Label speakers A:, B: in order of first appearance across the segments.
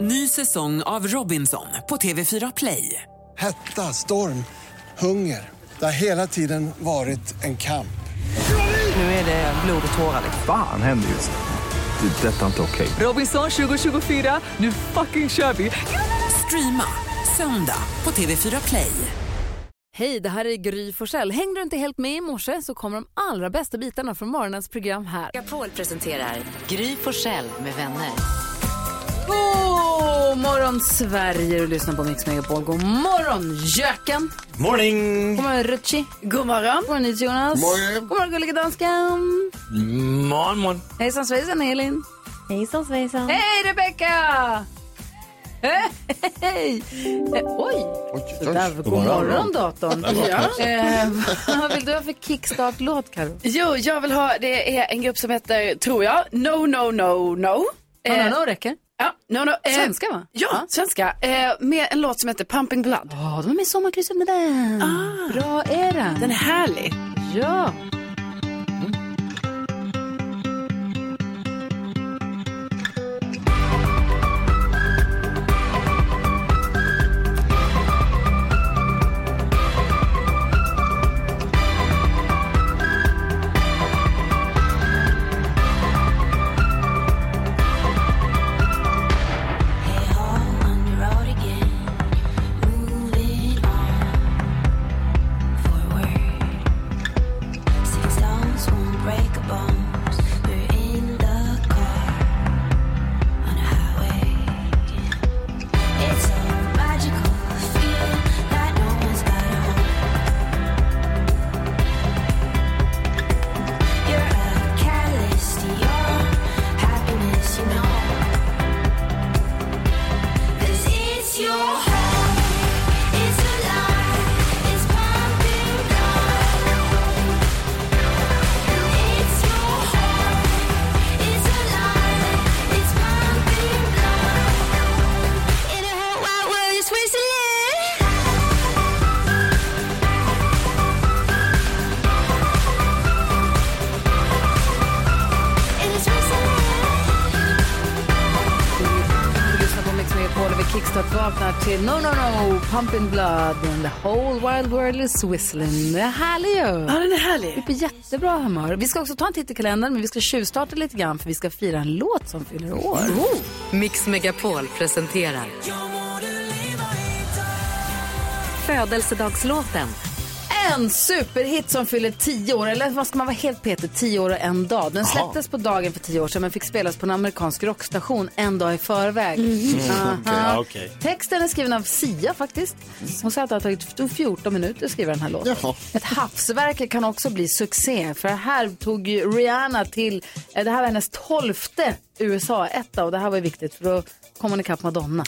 A: Ny säsong av Robinson på TV4 Play.
B: Hetta, storm, hunger. Det har hela tiden varit en kamp.
A: Nu är det blod och tårar.
C: Fan händer just nu. Det. är Detta är inte okej.
A: Robinson 2024, nu fucking kör vi! Streama söndag på TV4 Play.
D: Hej, det här är Gry Forssell. Hängde du inte helt med i morse så kommer de allra bästa bitarna från morgonens program här.
E: Megapol presenterar Gry Forssell med vänner.
D: God morgon Sverige, du lyssnar på Mix Megapol. God morgon Jöken.
F: Morning!
D: God morgon Rutschi. God morgon. God morgon Jonas.
F: Morgon.
D: God morgon gulliga dansken.
F: Morgon, morgon.
D: Hejsan svejsan Elin. Hejsan svejsan. Hej Rebecka. Hej! Eh, Oj! Sådär, god
G: morgon.
D: morgon datorn.
G: Ja.
D: Eh, vad vill du ha för kickstart-låt Karo?
G: Jo, jag vill ha, det är en grupp som heter, tror jag, No No No No. Eh,
D: No, No, No räcker.
G: Ja, no, no, eh,
D: Svenska, va?
G: Ja, svenska. Eh, med en låt som heter Pumping Blood.
D: Ja, de är med i Sommarkrysset med den. Bra är den.
G: Den är härlig.
D: Ah. Ja.
H: Your heart, it's alive, it's pumping blood. It's your heart, it's alive, it's pumping blood. In a whole wide world, it's whistling. It's
D: Du lyssnar på Mix Megapol och vi kickstart-vaknar till No No No, Pumping Blood and the whole wild world is whistling. Den är härlig ju. Ja,
G: den är härlig.
D: Vi är på jättebra humör. Vi ska också ta en titt i kalendern, men vi ska tjuvstarta lite grann för vi ska fira en låt som fyller år.
E: Mix Megapol presenterar Födelsedagslåten.
D: En superhit som fyller tio år, eller vad ska man vara helt petig, tio år och en dag. Den släpptes på dagen för tio år sedan men fick spelas på en amerikansk rockstation en dag i förväg. Mm. Aha. Texten är skriven av Sia faktiskt. Hon säger att det har tagit 14 minuter att skriva den här låten. Ett hafsverk kan också bli succé. För här tog ju Rihanna till, eh, det här var hennes tolfte USA-etta och det här var ju viktigt för då kom hon ikapp Madonna.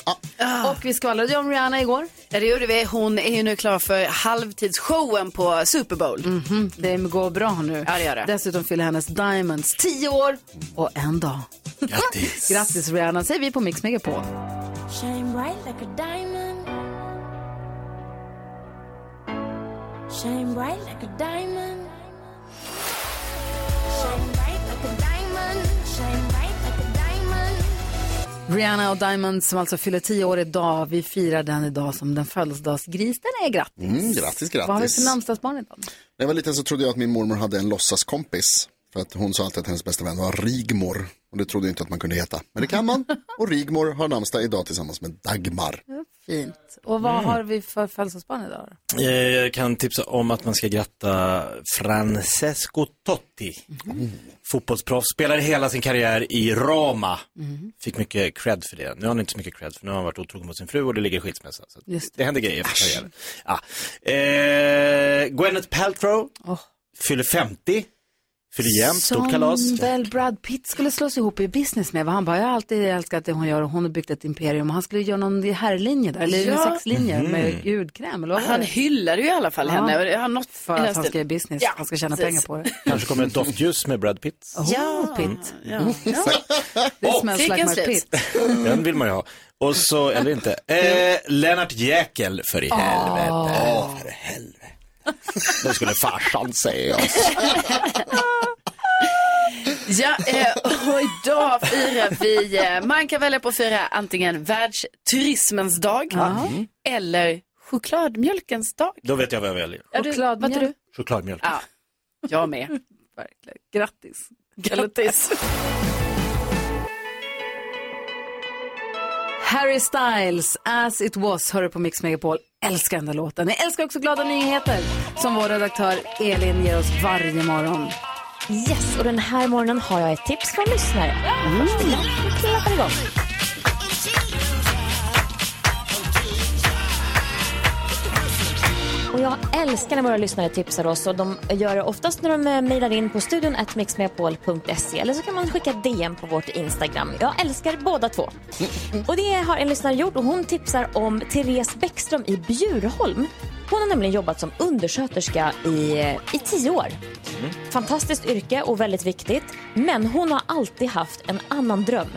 D: Och vi skvallrade ju om Rihanna igår.
G: Ja, det gjorde vi. Hon är ju nu klar för halvtidsshowen på Super Bowl.
D: Mhm, det går bra nu.
G: Ja, det gör det.
D: Dessutom fyller hennes Diamonds 10 år och en dag.
H: Grattis.
D: Grattis Rihanna säger vi på Mix Megapol.
H: Shine bright like a diamond. Shine bright like a diamond. Shine bright like a diamond. Shine bright like a diamond.
D: Rihanna och Diamonds som alltså fyller 10 år idag. Vi firar den idag som den födelsedagsgris den är. Grattis.
I: Mm, grattis, grattis.
D: Vad har vi för namnsdagsbarn idag?
I: När jag var liten så trodde jag att min mormor hade en låtsaskompis. För att hon sa alltid att hennes bästa vän var Rigmor. Och det trodde jag inte att man kunde heta. Men det kan man. Och Rigmor har namnsdag idag tillsammans med Dagmar.
D: Fint. Och
G: Mm.
D: vad har vi för födelsedagsbarn idag? då?
F: Eh, Jag kan tipsa om att man ska gratta Francesco Totti.
I: Mm.
F: Fotbollsproffs, spelade hela sin karriär i Roma.
D: Mm.
F: Fick mycket cred för det. Nu har han inte så mycket cred för nu har han varit otrogen mot sin fru och det ligger i skilsmässa. Så att
D: Just
F: det. händer grejer efter karriären. Ja. Eh, Gwyneth Paltrow fyller 50. Fyller jämnt, stort kalas.
D: Som väl Brad Pitt skulle slås ihop i business med. va? Han bara, jag har alltid älskat det hon gör och hon har byggt ett imperium. Och Han skulle göra någon herrlinje där, eller
G: Ja.
D: sexlinje med hudkräm. Eller vad var
G: Han typ-
D: det?
G: hyllade ju i alla fall
D: Ja.
G: henne. Och det har något
D: För att han ska göra business. Han ska tjäna pengar på det. Oh,
F: Kanske kommer ett doftljus med Brad Pitt.
D: Ja, Pitt. Det
F: Och-
D: smells like my Pitt.
F: Den vill man ju ha. Och så, eller inte. Eh, Lennart Jäkel, för i helvete. För helvete. Det skulle farsan säga.
G: Ja, eh, och idag firar vi, eh, man kan välja på att fira antingen världsturismens dag eller chokladmjölkens dag.
F: Då vet jag vad jag väljer.
G: Ja, du-
D: Chokladmjölk.
G: vad tror du?
F: Chokladmjölk.
G: Ja, jag med. Verkligen. Grattis. Grattis.
D: Harry Styles, As It Was, hör du på Mix Megapol. Älskar den där låten. Jag älskar också glada nyheter som vår redaktör Elin ger oss varje morgon.
H: Yes, och den här morgonen har jag ett tips från lyssnare. Mm. Klappar igång. Och jag älskar när våra lyssnare tipsar oss och de gör det oftast när de eh, mejlar in på studion at mixmegapol.se eller så kan man skicka DM på vårt Instagram. Jag älskar båda två. Och det har en lyssnare gjort och hon tipsar om Therese Bäckström i Bjurholm. Hon har nämligen jobbat som undersköterska i, i tio år. Fantastiskt yrke och väldigt viktigt. Men hon har alltid haft en annan dröm.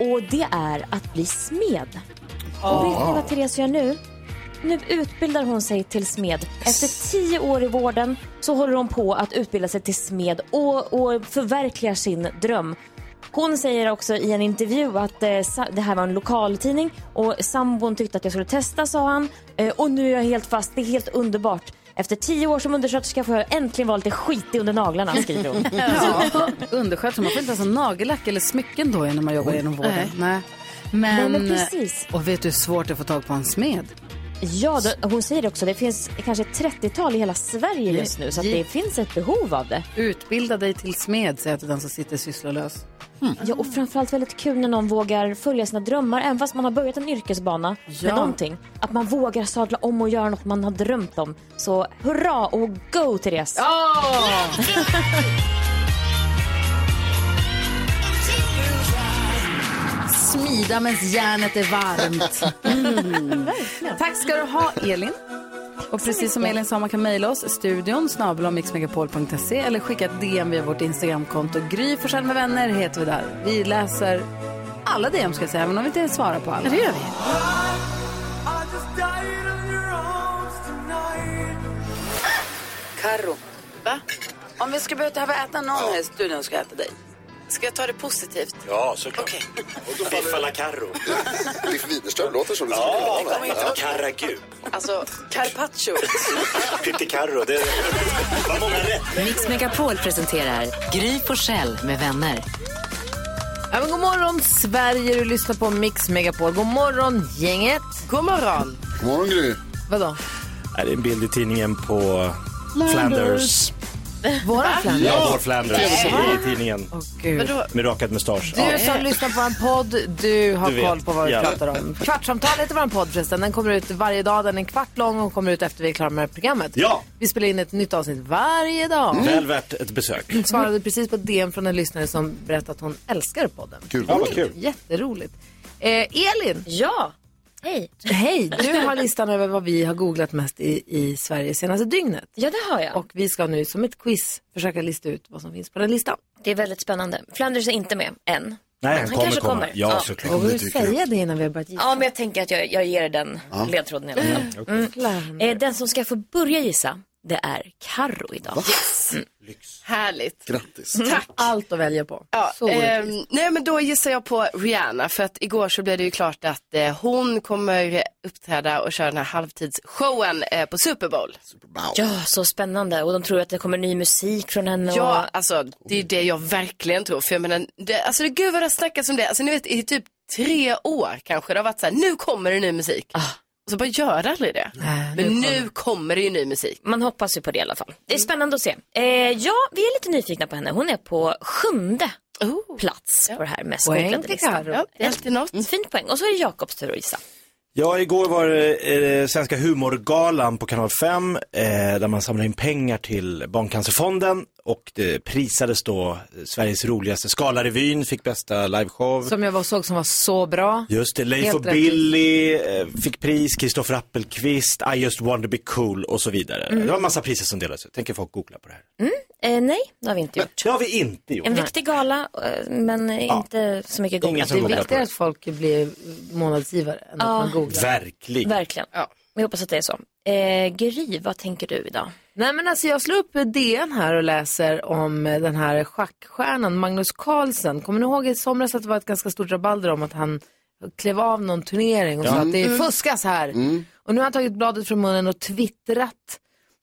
H: Och det är att bli smed. Och vet ni vad Therese gör nu? Nu utbildar hon sig till smed. Efter tio år i vården så håller hon på att utbilda sig till smed och, och förverkligar sin dröm. Hon säger också i en intervju att eh, sa- det här var en lokaltidning och sambon tyckte att jag skulle testa sa han. Eh, och nu är jag helt fast, det är helt underbart. Efter tio år som undersköterska får jag äntligen vara lite skitig under naglarna, skriver hon.
D: Ja. Undersköterska, man får inte ens ha nagellack eller smycken då när man jobbar inom vården. Nej.
G: Nej.
D: Men,
H: Nej, men precis.
D: Och vet du hur svårt det är att få tag på en smed?
H: Ja, då, hon säger också det finns kanske ett 30-tal i hela Sverige just nu så att det finns ett behov av det.
D: Utbilda dig till smed, säger jag till den som sitter sysslolös.
H: Ja, och framförallt väldigt kul när någon vågar följa sina drömmar även fast man har börjat en yrkesbana
D: Ja.
H: med någonting. Att man vågar sadla om och göra något man har drömt om. Så hurra och go Therese!
D: Smida medan järnet är varmt. Tack ska du ha, Elin. Och precis som Elin sa, man kan mejla oss studion snabel mixmegapol.se eller skicka ett DM via vårt Instagramkonto. Gry Forssell med vänner heter vi där. Vi läser alla DM ska jag säga, även om vi inte svarar på alla. Ja, det gör vi. Karo,
G: Va?
D: om vi ska behöva äta någon här i studion ska jag äta dig.
G: Ska jag ta det positivt?
F: Ja, såklart. Biff à la Carro. Ah,
I: Biff Widerström låter som det skulle kunna vara.
F: Carragu.
G: Alltså, carpaccio.
F: Pytte Carro. Det var många rätt.
E: Mix Megapol presenterar Gry Forssell med vänner.
J: Ja, men god morgon Sverige, du lyssnar på Mix Megapol. God morgon gänget.
G: God morgon.
I: God morgon Gry.
J: Vadå?
F: Är det en bild i tidningen på Flanders?
J: Våra Flanders?
F: Ja, vår Flanders i tidningen.
J: Gud.
F: Med rakad mustasch.
J: Du som lyssnar på en podd, du har
F: Du vet.
J: koll på vad vi
F: Ja.
J: pratar om. Kvartsamtal heter vår podd förresten. Den kommer ut varje dag, den är en kvart lång och kommer ut efter vi är klara med det här programmet.
F: Ja. Mm.
J: Vi spelar in ett nytt avsnitt varje dag.
F: Väl värt ett besök.
J: Svarade precis på ett DM från en lyssnare som berättade att hon älskar podden.
I: Kul.
F: Ja, vad kul.
J: Jätteroligt. Eh, Elin,
H: Ja, hej!
J: hej. Du har listan över vad vi har googlat mest i, i Sverige senaste dygnet.
H: Ja, det har jag.
J: Och vi ska nu som ett quiz försöka lista ut vad som finns på den listan.
H: det är väldigt spännande. Flanders är inte med än.
F: Nej, han kommer
H: kanske
F: komma.
H: kommer.
F: Ja,
H: Ja.
F: såklart.
J: Och hur säga det innan vi har börjat gissa?
H: Ja, men jag tänker att jag, jag ger er den ledtråden i alla fall.
J: Flanders.
H: Eh, Den som ska få börja gissa, det är Carro idag.
G: Härligt.
I: Grattis.
G: Tack.
J: Allt att välja på.
G: Ja,
J: Så
G: ehm,
J: orättvist.
G: nej men då gissar jag på Rihanna för att igår så blev det ju klart att eh, hon kommer uppträda och köra den här halvtidsshowen eh, på Super Bowl.
I: Wow.
H: Ja, så spännande. Och de tror att det kommer ny musik från henne. Och...
G: Ja, alltså det är det jag verkligen tror. För jag menar, det, alltså det, gud vad det har snackats om det. Alltså ni vet i typ tre år kanske det har varit så här, nu kommer det ny musik.
H: Ah.
G: Och så bara gör det aldrig det. men nu kommer det ju ny musik.
H: Man hoppas ju på det i alla fall. Det är
J: Mm.
H: spännande att se. Eh, ja, vi är lite nyfikna på henne. Hon är på sjunde plats på det här mest
J: Oh. Poäng
H: googlade
J: till
H: listan.
J: Karo.
G: Ja, det är alltid något.
H: En fin poäng. Och så är det Jakobs tur att gissa.
F: Ja, igår var det eh, Svenska humorgalan på Kanal 5 eh, där man samlade in pengar till Barncancerfonden och det prisades då eh, Sveriges roligaste Scala-revyn, fick bästa liveshow.
J: Som jag var såg som var så bra.
F: Just det, Leif
J: Helt
F: och
J: rätt.
F: Billy eh, fick pris, Kristoffer Appelqvist, I just want to be cool och så vidare. Det var en massa priser som delades ut, tänker folk googla på det här.
H: Eh, nej, det har vi inte gjort.
F: Det har vi inte gjort.
H: En viktig gala, eh, men inte så mycket
F: Ingen
H: googlat.
F: som
J: Det
F: googlar på
J: viktiga är
F: det.
J: att folk blir månadsgivare än att man googlar.
F: Verkligen.
H: Verkligen. Vi hoppas att det är så. Eh, Gry, vad tänker du idag?
D: Nej men alltså jag slår upp DN här och läser om eh, den här schackstjärnan Magnus Carlsen. Kommer ni ihåg i somras att det var ett ganska stort rabalder om att han klev av någon turnering och sa
I: Ja.
D: att det
I: Mm.
D: fuskas här. Och nu har han tagit bladet från munnen och twittrat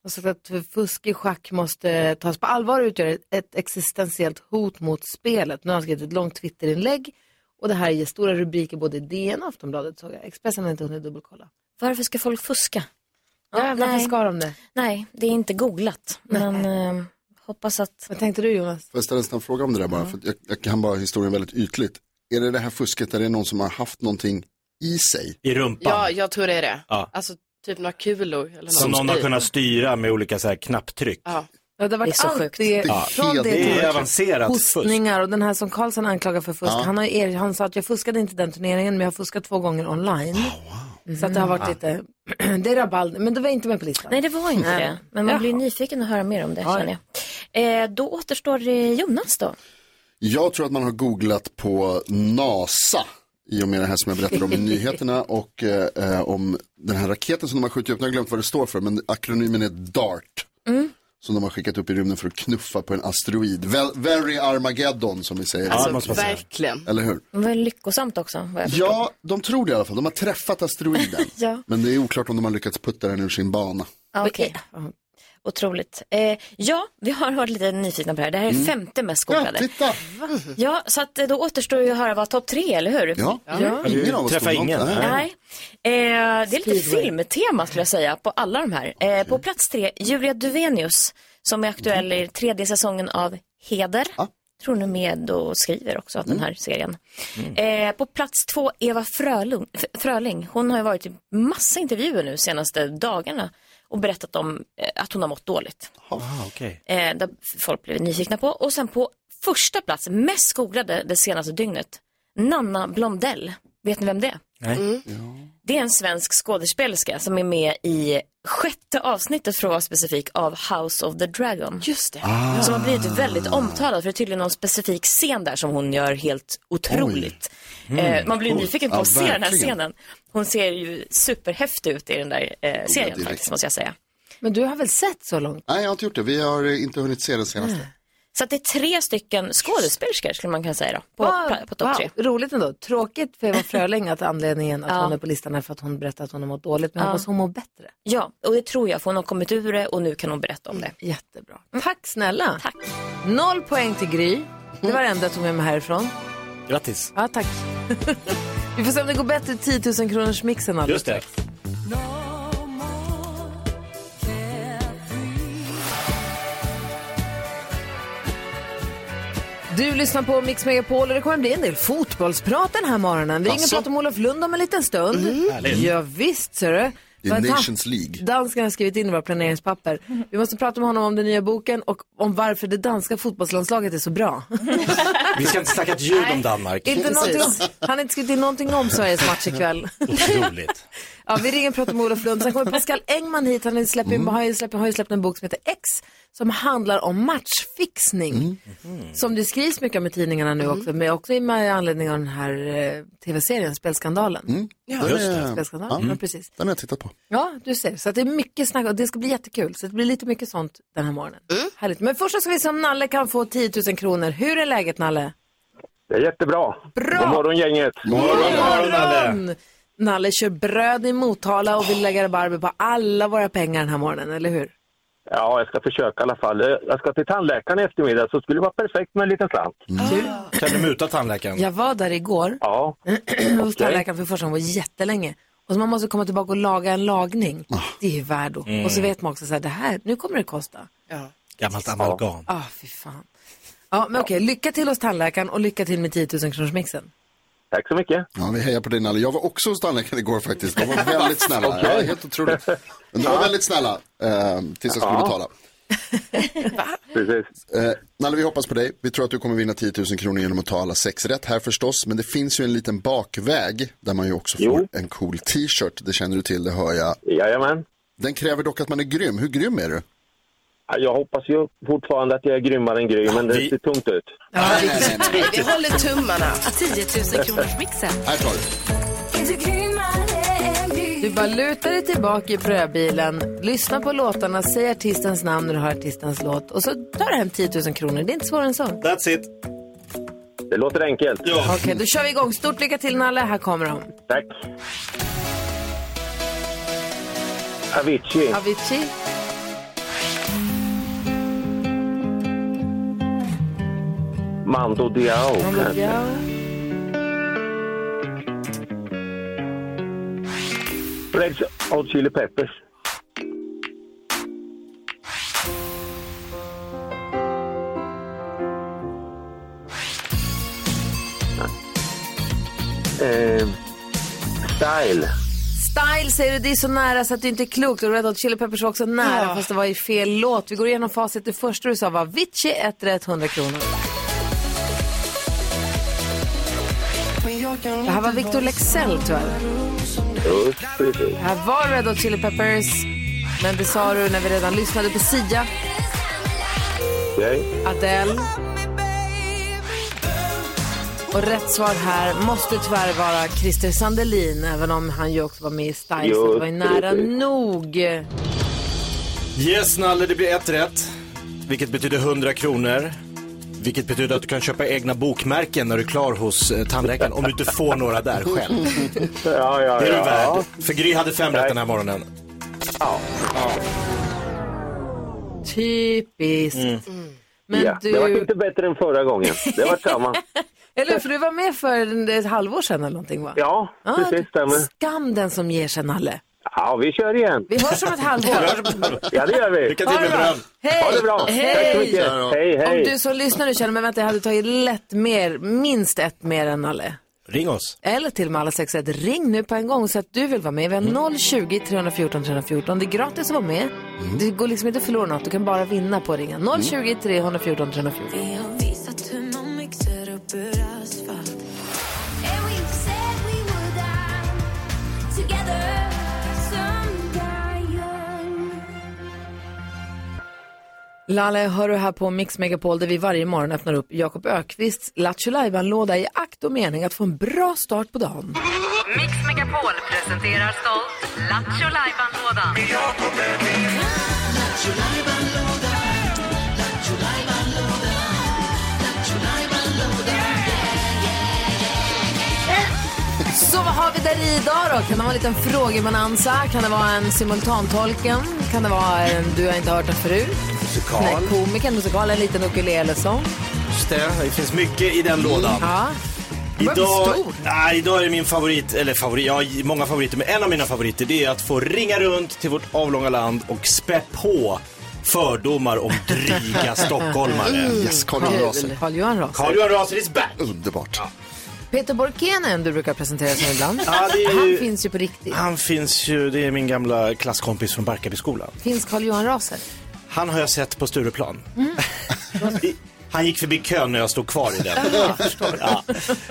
D: och sagt att fusk i schack måste tas på allvar och utgör ett- ett existentiellt hot mot spelet. Nu har han skrivit ett långt twitterinlägg och det här ger stora rubriker både i DN och Aftonbladet såg jag. Expressen har inte hunnit dubbelkolla.
H: Varför ska folk fuska?
D: Ja, varför
H: nej.
D: ska de det?
H: Nej, det är inte googlat. Men eh, hoppas att...
D: Vad tänkte du Jonas?
I: Får jag ställa en snabb fråga om det där bara? För att jag, jag kan bara historien väldigt ytligt. Är det det här fusket där det är någon som har haft någonting i sig?
F: I rumpan.
G: Ja, jag tror det är det.
F: Ja.
G: Alltså typ några kulor eller något.
F: Som någon har
G: i.
F: kunnat styra med olika så här knapptryck.
G: Ja.
D: Ja, det har varit
H: så
D: allt
H: sjukt.
D: det,
I: Ja,
D: från det
I: helt
F: Det
D: till
F: är avancerat fusk.
D: hostningar och den här som Karlsson anklagar för fusk. Han, har, ju er- han sa att jag fuskade inte den turneringen men jag har fuskat två gånger online. Så att det har varit lite, det är rabalder, men det var inte med på listan.
H: Nej, det var inte det. Men man blir nyfiken att höra mer om det, känner jag. Eh, då återstår det Jonas då.
I: Jag tror att man har googlat på NASA i och med det här som jag berättade om i nyheterna och eh, eh, om den här raketen som de har skjutit upp. Nu har jag glömt vad det står för, men akronymen är DART. Som de har skickat upp i rymden för att knuffa på en asteroid. Ve- Very Armageddon som vi säger.
F: det måste
G: Alltså
F: man säga.
G: verkligen.
I: Eller hur?
H: Det var lyckosamt också, vad jag förstår.
I: Ja, de tror det i alla fall. De har träffat asteroiden.
H: Ja.
I: Men det är oklart om de har lyckats putta den ur sin bana.
H: Ja, Okej. Otroligt. Eh, ja, vi har varit lite nyfikna på det här. Det här är
F: Mm.
H: femte mest
I: Ja,
G: typ.
H: googlade.
I: titta!
H: Ja, så att, eh, då återstår ju att höra vad topp tre, eller hur?
I: Ja, ingen av oss
F: Träffa
I: tog något.
F: ingen.
I: Nej.
H: Nej. Eh, det är lite filmtema skulle jag säga på alla de här. Eh, på plats tre, Julia Duvenius som är aktuell i tredje säsongen av Heder. Tror hon är med och skriver också av den här serien. Eh, på plats två, Eva Frölung, F- Fröling. Hon har ju varit i massa intervjuer nu senaste dagarna och berättat om eh, att hon har mått dåligt.
F: Ah, okej.
H: Eh, där folk blev nyfikna på. Och sen på första plats, mest googlade det senaste dygnet, Nanna Blondell. Vet ni vem det är?
F: Nej.
H: Det är en svensk skådespelerska som är med i sjätte avsnittet för att vara specifik av House of the Dragon.
G: Just det.
H: Som har blivit
D: Ah.
H: väldigt
I: Ah.
H: omtalad för det är tydligen någon specifik scen där som hon gör helt otroligt. eh, man blir nyfiken på
I: Ja,
H: att se den här
I: verkligen.
H: scenen. Hon ser ju superhäftig ut i den där eh, serien
I: direkt.
H: faktiskt måste jag säga.
D: Men du har väl sett så långt?
I: Nej, jag har inte gjort det. Vi har eh, inte hunnit se den senaste.
H: Så att det är tre stycken skådespelerskor skulle man kunna säga då, på, pla- på topp tre.
D: Roligt ändå. Tråkigt för Eva Fröling att anledningen att
H: Ja.
D: hon är på listan är för att hon berättar att hon har mått dåligt. Men jag hoppas hon mår bättre.
H: Ja, och det tror jag för hon har kommit ur det och nu kan hon berätta om det.
D: Jättebra. Tack snälla.
H: Mm. Tack.
D: Noll poäng till Gry. Det var det enda jag tog med mig härifrån.
F: Grattis.
D: Ja, tack. Vi får se om det går bättre i 10 000 kronors mixen alldeles
F: Just det.
D: Du lyssnar på Mix Megapol och det kommer bli en del fotbollsprat den här morgonen. Vi ringer och
I: Asså?
D: pratar om Olof Lund om en liten stund. Ja, visst ser du.
I: Mm. Det
D: Vad
I: är
D: han-
I: Nations League.
D: Danskarna har skrivit in i våra planeringspapper. Vi måste prata med honom om den nya boken och om varför det danska fotbollslandslaget är så bra.
F: Vi ska inte snacka ett ljud om Danmark.
D: inte någonting, om- han har inte skrivit in någonting om Sveriges match ikväll.
F: Otroligt.
D: Ja, vi ringer och pratar med Olof Lund. Sen kommer Pascal Engman hit. Han släpper,
F: Mm.
D: har, ju släppt, har ju släppt en bok som heter X som handlar om matchfixning.
F: Mm.
D: Som det skrivs mycket om i tidningarna nu också, men också i med anledning av den här eh, tv-serien Spelskandalen.
I: Ja, den,
F: Mm. just det. Mm.
I: är,
D: Spelskandalen, ja, precis.
I: den har jag tittat på.
D: Ja, du ser. Så att det är mycket snack och det ska bli jättekul. Så det blir lite mycket sånt den här morgonen. Härligt. Men först så ska vi se om Nalle kan få 10 000 kronor. Hur är läget Nalle?
K: Det är jättebra.
D: Bra!
K: God morgon gänget.
D: Morgon! Nalle kör bröd i Motala och vill lägga rabarber på alla våra pengar den här morgonen, eller hur?
K: Ja, jag ska försöka i alla fall. Eh, Jag ska till tandläkaren i eftermiddag så det skulle vara perfekt med en liten slant.
F: Kan du muta tandläkaren?
D: Jag var där igår
K: Ja,
D: hos tandläkaren för första gången på jättelänge. Och så man måste komma tillbaka och laga en lagning.
K: Ah.
D: Det är ju värdo.
K: Mm.
D: Och så vet man också så här, det här, nu kommer det kosta.
F: Gammalt amalgam.
D: Ah, fy fan. Ja, men okej, lycka till hos tandläkaren och lycka till med 10 000 kronors mixen.
K: tack så mycket.
I: Ja, vi hejar på dig Nalle. Jag var också hos tandläkaren igår faktiskt. De var väldigt snälla. Ja, helt otroligt. Men de var väldigt snälla eh, tills jag skulle betala.
K: Precis.
I: Eh, Nalle, vi hoppas på dig. Vi tror att du kommer vinna 10 000 kronor genom att ta alla sex rätt här förstås. Men det finns ju en liten bakväg där man ju också får
K: Jo.
I: en cool t-shirt. Det känner du till, det hör jag.
K: Jajamän.
I: Den kräver dock att man är grym. Hur grym är du?
K: Ja, Jag hoppas ju fortfarande att jag är grymmare än Gry, men
F: vi-
K: det ser tungt ut.
I: nej, nej, nej, nej.
G: Vi håller tummarna.
L: 10 000 kronors mixen.
I: Här tar du.
D: Du Du bara lutar dig tillbaka i pröbilen, lyssnar på låtarna, säger artistens namn när du hör artistens låt och så tar du hem 10 000 kronor. Det är inte svårare än så. Okej,
F: That's it.
K: Det låter enkelt. Ja.
D: då kör vi igång. Stort lycka till Nalle, här kommer de.
K: Tack. Avicii.
D: Avicii.
K: Mando Diao. kanske.
D: Olivia.
K: Red Hot Chili Peppers. Eh, style.
D: Style säger du, det är så nära så att det inte är klokt. Och Red Hot Chili Peppers var också nära fast det var i fel låt. Vi går igenom facit. Det första du sa var Avicii, ett rätt, 100 kronor. Det här var Victor Lexell tyvärr.
K: Just precis.
D: Det här var Red Hot Chili Peppers. Men det sa du när vi redan lyssnade på Sia,
K: Okej.
D: Adele. Och rätt svar här måste tyvärr vara Christer Sandelin, även om han ju också var med i Style, så det var ju nära nog.
F: Yes, Nalle, det blir ett rätt. Vilket betyder 100 kronor. Vilket betyder att du kan köpa egna bokmärken när du är klar hos eh, tandläkaren. om du inte får några där själv.
K: Ja, ja,
F: Det är du
K: Mm. ja.
F: värd. För Gry hade fem rätt den här morgonen.
D: Typiskt. Men
K: ja. Det var
D: du,
K: inte bättre än förra gången. Det var samma.
D: eller hur, för du var med för ett halvår sedan eller någonting va?
K: Ja,
D: Ah,
K: precis. Stämmer.
D: Skam den som ger sig Nalle.
K: Ja, vi kör igen.
D: Vi hörs om ett halvår.
K: Ja, det gör vi.
F: Lycka till med bröd.
K: Ha det
D: Hej!
K: bra. Tack så mycket. Hej,
D: Om
K: hej.
D: du som lyssnar nu känner, men vänta jag hade tagit lätt mer, minst ett mer än Nalle.
F: Ring oss.
D: Eller till och med alla sex, ett ring nu på en gång så att du vill vara med. Vi har 020 314 314. Det är gratis att vara med. Det går liksom inte att förlora något, du kan bara vinna på att ringa. 020 314 314. Lalle, hör du här på Mix Megapol där vi varje morgon öppnar upp Jakob Ökvists Lattjo låda i akt och mening att få en bra start på dagen.
E: Mix Megapol presenterar stolt Lattjo Lajban-lådan.
D: Så vad har vi där i idag då? Kan det vara en liten frågebonanza? Kan det vara en simultantolken? Kan det vara en du har inte hört den förut? Musikal. Nej, komikern, musikal, en liten ukulelesång.
F: Just det, det finns mycket i den lådan.
K: Mm.
D: Ja. Varför stor?
F: nej, idag är min favorit, eller favorit, jag har många favoriter, men en av mina favoriter det är att få ringa runt till vårt avlånga land och spä på fördomar om dryga stockholmare.
K: Mm.
M: Yes, Carl Johan
D: Carl-Johan Ras.
F: Carl Johan Raser is back!
M: Underbart.
D: Peter Borkenen du brukar presentera som ibland.
F: Ja, det är ju-
D: Han finns ju på riktigt.
F: Han finns ju, det är min gamla klasskompis från Barkarbyskolan.
D: Finns Carl-Johan Raser?
F: Han har jag sett på Stureplan.
D: Mm.
F: I- han gick förbi kön när jag stod kvar i den. ja.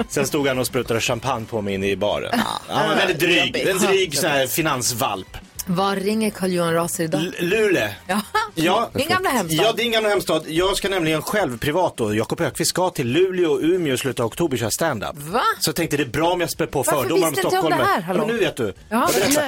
F: Sen stod han och sprutade champagne på mig inne i baren. Han var väldigt dryg, en dryg sån här finansvalp.
D: Var ringer Carl-Johan Raser idag?
F: L- Luleå.
D: Ja.
F: Ja.
D: Din gamla hemstad.
F: Ja, din gamla hemstad. Jag ska nämligen själv privat då, Jakob Ökvist ska till Luleå och Umeå i slutet av oktober och köra stand-up.
D: Va?
F: Så jag tänkte det är bra om jag spär på
D: Varför
F: fördomar om
D: visste inte jag om det
F: stockholmare.
D: här? Hallå?
F: Men nu vet du.
D: Ja, men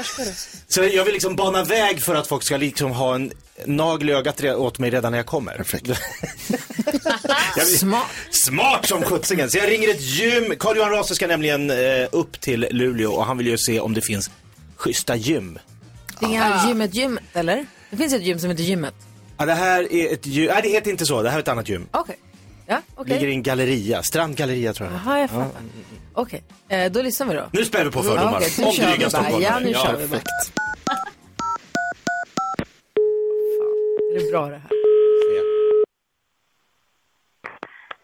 F: Så jag vill liksom bana väg för att folk ska liksom ha en nagel i ögat re- åt mig redan när jag kommer.
M: Perfekt.
F: jag vill...
D: Smart.
F: Smart som sjuttsingen! Så jag ringer ett gym. Carl-Johan Raser ska nämligen eh, upp till Luleå och han vill ju se om det finns schyssta gym.
D: Det är inga gymmet gymmet, eller? Det finns ett gym som heter gymmet.
F: Ja, det här är ett gym, nej det heter inte så, det här är ett annat gym.
D: Okej. Ja, okej.
F: Ligger i en galleria, strandgalleria tror jag.
D: Jaha, jag fattar. Okej, eh, då lyssnar vi då.
F: Nu spär vi på fördomar.
D: Ja, okej, nu
F: om
D: kör vi
F: dryga
D: bara.
F: stockholmare.
D: Ja, nu kör vi bara. Det är bra det här.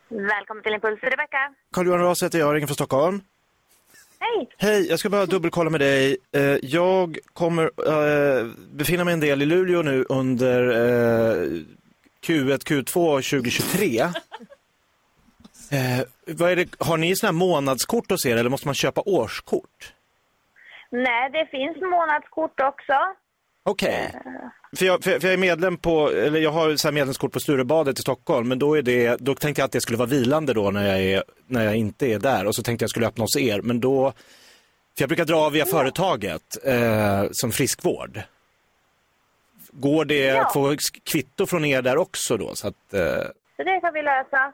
N: Välkommen till Impuls, Rebecka.
F: Carl-Johan Ras heter jag, ringer från Stockholm.
N: Hej!
F: Hej, jag ska bara dubbelkolla med dig. Eh, Jag kommer eh, befinna mig en del i Luleå nu under eh, Q1, Q2 2023. Eh, vad är det, har ni såna här månadskort hos er eller måste man köpa årskort?
N: Nej, det finns månadskort också.
F: Okej. För, jag, för, jag- för jag är medlem på, eller jag har så här medlemskort på Sturebadet i Stockholm, men då, är det, då tänkte jag att det skulle vara vilande då när jag, är, när jag inte är där. Och så tänkte jag skulle öppna hos er, men då För jag brukar dra via företaget eh, som friskvård. Går det att få sk- kvitto från er där också då? Så att, eh,
N: Så det kan vi lösa.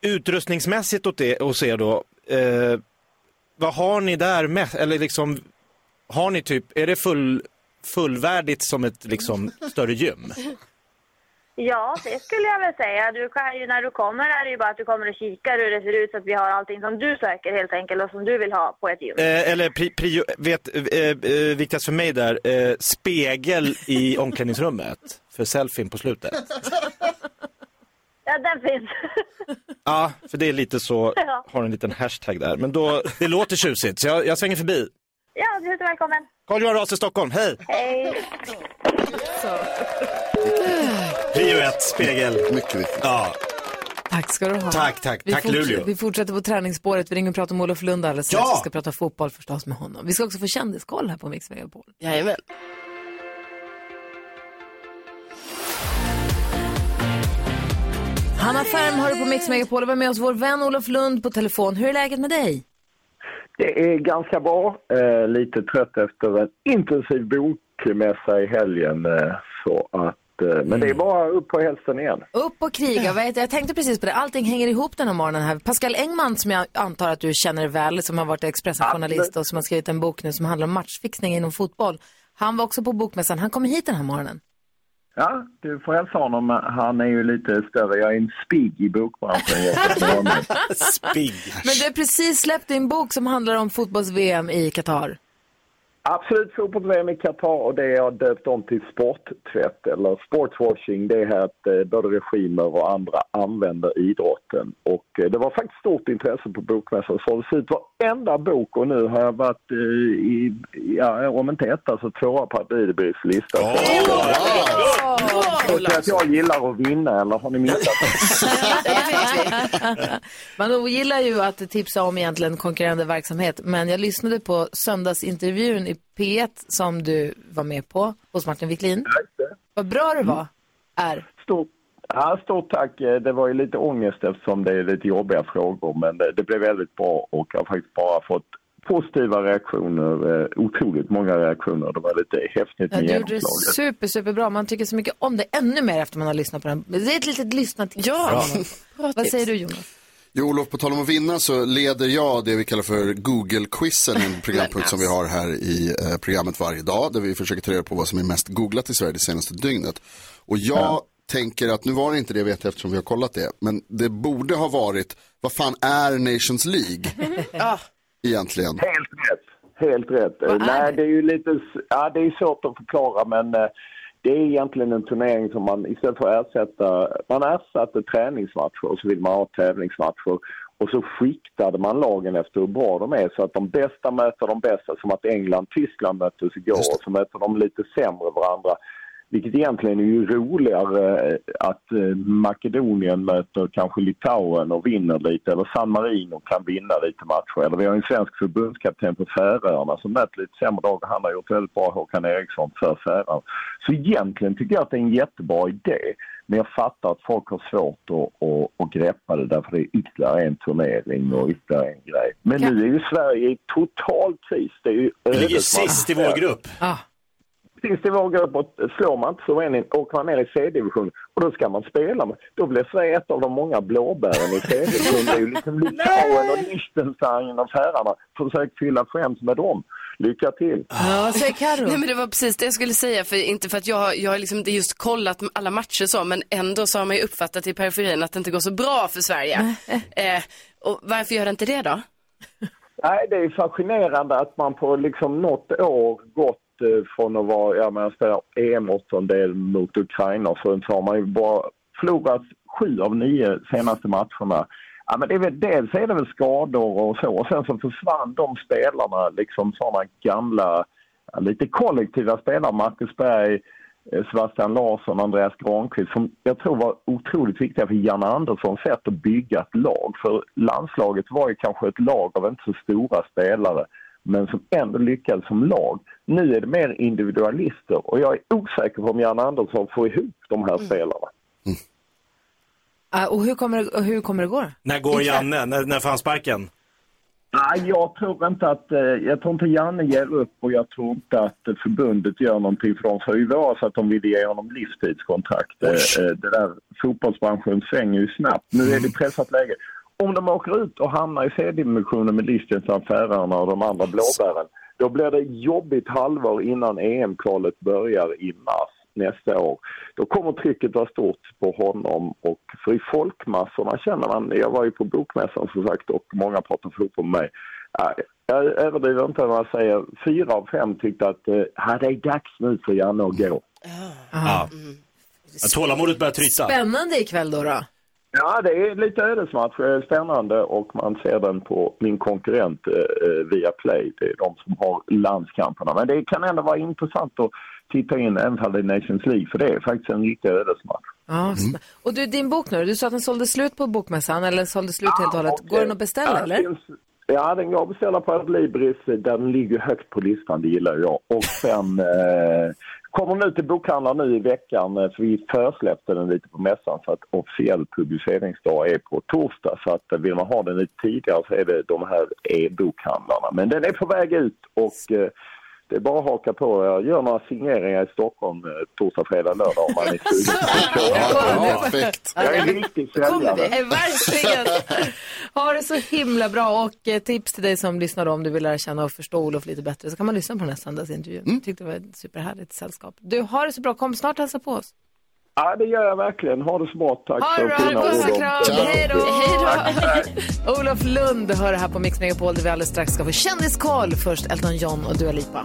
F: utrustningsmässigt åt det, hos er då, eh, vad har ni där mest? Eller liksom, har ni typ, är det full, fullvärdigt som ett liksom större gym?
N: Ja, det skulle jag väl säga. Du kan ju, när du kommer är det ju bara att du kommer och kikar hur det ser ut så att vi har allting som du söker helt enkelt och som du vill ha på ett gym.
F: Eh, eller pri, prio, vet, eh, eh, viktigast för mig där, eh, spegel i omklädningsrummet för selfien på slutet.
N: Ja, den finns.
F: Ja, för det är lite så,
N: Ja.
F: har en liten hashtag där. Men då, det låter tjusigt så jag, jag svänger förbi.
N: Ja, du är så välkommen.
F: Carl-Johan Ras i Stockholm, hej!
N: Hej!
F: Prio ett, spegel. Mycket viktigt. Ja,
J: Tack ska du ha.
F: Tack, tack.
J: Vi,
F: Tack, Luleå.
J: vi fortsätter på träningsspåret. Vi ringer och pratar med Olof Lund alldeles strax.
F: Ja!
J: Vi ska prata fotboll förstås med honom. Vi ska också få kändiskoll här på Mix Megapol.
G: Jajamän.
J: Hanna Färm har du på Mix Megapol och var med oss vår vän Olof Lund på telefon. Hur är läget med dig?
O: Det är ganska bra. Eh, lite trött efter en intensiv bokmässa i helgen. Eh, så att, eh, men det är bara upp på hälften igen.
J: Upp och kriga. Vet, jag tänkte precis på det. Allting hänger ihop den här morgonen här. Pascal Engman som jag antar att du känner väl, som har varit Expressen-journalist och som har skrivit en bok nu som handlar om matchfixning inom fotboll. Han var också på bokmässan. Han kommer hit den här morgonen.
O: Ja, du får hälsa honom. Han är ju lite större. Jag är en spigg i bokbranschen. jämfört med honom.
F: spigg.
J: Men du har precis släppt din bok som handlar om fotbolls-VM i Qatar.
O: Absolut fotbolls-VM i Qatar och det jag döpt om till sporttvätt eller sportswashing det är här att eh, både regimer och andra använder idrotten. Och eh, det var faktiskt stort intresse på bokmässan. Så det ut varenda bok och nu har jag varit eh, i, ja, om inte etta så tvåa på Adidebys lista. Så att jag gillar att vinna eller har ni missat?
J: Man ogillar ju att tipsa om egentligen konkurrerande verksamhet, men jag lyssnade på söndagsintervjun i P1 som du var med på hos Martin Wiklin. Vad bra det var. Är.
O: Stort, ja, stort tack. Eh, Det var ju lite ångest eftersom det är lite jobbiga frågor men eh, det, det blev väldigt bra och jag har faktiskt bara fått positiva reaktioner, eh, otroligt många reaktioner. Det var lite häftigt
J: Ja,
O: med
J: du gjorde det
O: genomslaget.
J: super, superbra. Man tycker så mycket om det ännu mer efter man har lyssnat på den. Det är ett litet lyssnartips.
G: Ja.
J: Vad säger du Jonas?
I: Jo, Olof, på tal om att vinna så leder jag det vi kallar för Google-quizen, en programpunkt som vi har här i eh, programmet varje dag, där vi försöker ta reda på vad som är mest googlat i Sverige det senaste dygnet. Och jag tänker att, nu var det inte det vet jag eftersom vi har kollat det, men det borde ha varit, vad fan är Nations League egentligen?
O: Helt rätt. Eh, Nej, det är ju lite, s- ja det är svårt att förklara men eh, det är egentligen en turnering som man istället för att ersätta, man ersatte träningsmatcher och så vill man ha tävlingsmatcher och så skiktade man lagen efter hur bra de är så att de bästa möter de bästa som att England Tyskland möttes igår och så möter de lite sämre varandra. Vilket egentligen är ju roligare eh, att eh, Makedonien möter kanske Litauen och vinner lite eller San Marino kan vinna lite matcher. Eller vi har en svensk förbundskapten på Färöarna som mött lite sämre dag och han har gjort väldigt bra, Håkan Eriksson, för Färöarna. Så egentligen tycker jag att det är en jättebra idé. Men jag fattar att folk har svårt att, att, att greppa det därför det är ytterligare en turnering och ytterligare en grej. Men nu är ju Sverige i total kris. Det är ju
F: Vi ligger
O: ödet man-
F: sist i vår grupp.
O: Sist i vår grupp och slår man inte suveränen åker man ner i C-division och då ska man spela. med- Då blir Sverige ett av de många blåbären i C-division. Det är ju liksom Litauen och Liechtenstein och Färöarna. Försök fylla skämt med dem. Lycka till!
J: Ja, vad säger Karo?
G: Nej men det var precis det jag skulle säga, för inte för att jag, har- jag har liksom inte just kollat alla matcher så, men ändå så har man ju uppfattat i periferin att det inte går så bra för Sverige. eh, och varför gör det inte det då?
O: Nej, det är fascinerande att man på liksom något år gått eh, från att vara, ja men jag spelar EM-åttondel mot Ukraina och så, så har man ju bara förlorat sju av nio senaste matcherna. Ja, men det är väl, dels är det väl skador och så, och sen så försvann de spelarna, liksom sådana gamla, ja, lite kollektiva spelare, Marcus Berg, eh, Sebastian Larsson, Andreas Granqvist som jag tror var otroligt viktiga för Janne Anderssons sätt att bygga ett lag. För landslaget var ju kanske ett lag av inte så stora spelare men som ändå lyckades som lag. Nu är det mer individualister och jag är osäker på om Janne Andersson får ihop de här spelarna.
J: Ah, och hur kommer, det, och hur kommer det gå? då?
F: När går Janne? När, när får han sparken?
O: Nej, jag tror inte att, eh, jag tror inte Janne ger upp och jag tror inte att eh, förbundet gör någonting för de sa ju i våras att de ville ge honom livstidskontrakt. Eh, eh, Det där fotbollsbranschen svänger ju snabbt. Nu är det pressat läge. Om de åker ut och hamnar i C-dimensionen med Liechtenstein, Färöarna och de andra blåbären, då blir det jobbigt halvår innan EM-kvalet börjar i mars nästa år. Då kommer trycket vara stort på honom och för i folkmassorna känner man, jag var ju på bokmässan som sagt och många pratade fotboll med mig. Ja, Jag överdriver inte när jag säger fyra av fem tyckte att eh, här det är dags nu för Janne att gå.
F: Ja. Ja, Tålamodet börjar tryta.
P: Spännande ikväll då. då.
O: Ja, det är lite ödesmatch. eh, Spännande och man ser den på min konkurrent eh, eh, via Play. Det är de som har landskamperna. Men det kan ändå vara intressant att titta in även fall det är Nations League för det är faktiskt en riktig ödesmatch.
P: Ja,
F: Mm.
P: spä- Och du, din bok nu, du sa att den sålde slut på bokmässan eller sålde slut helt och hållet. Går den att beställa
O: Ja,
P: eller?
O: finns- Ja, den går att beställa på Adlibris. Den ligger högt på listan, det gillar jag. Och sen eh, kommer den ut till bokhandlaren nu i veckan. eh, För vi försläppte den lite på mässan så att officiell publiceringsdag är på torsdag. Så att eh, vill man ha den lite tidigare så är det de här e-bokhandlarna. Men den är på väg ut och eh, det är bara att haka på. Jag gör några signeringar i Stockholm eh, torsdag, fredag, lördag om man är sugen.
D: Ja,
Q: perfekt.
O: Jag är en riktig
D: kommer vi.
O: säljare.
D: Eh, Verkligen. ha det så himla bra och eh, tips till dig som lyssnar då, om du vill lära känna och förstå Olof lite bättre så kan man lyssna på den här söndagsintervjun. Mm. Tyckte det var ett superhärligt sällskap. Du, har det så bra. Kom snart och hälsa på oss.
O: Ja, det gör jag verkligen. Ha det så bra. Tack
D: Ha
O: för
D: det bra.
O: fina
D: Puss och
O: ord.
D: kram.
O: Tack.
D: Hej då.
O: Tack, tack.
D: Olof Lund hör det här på Mix Megapol där vi alldeles strax ska få kändiskoll. Först Elton John och Dua Lipa.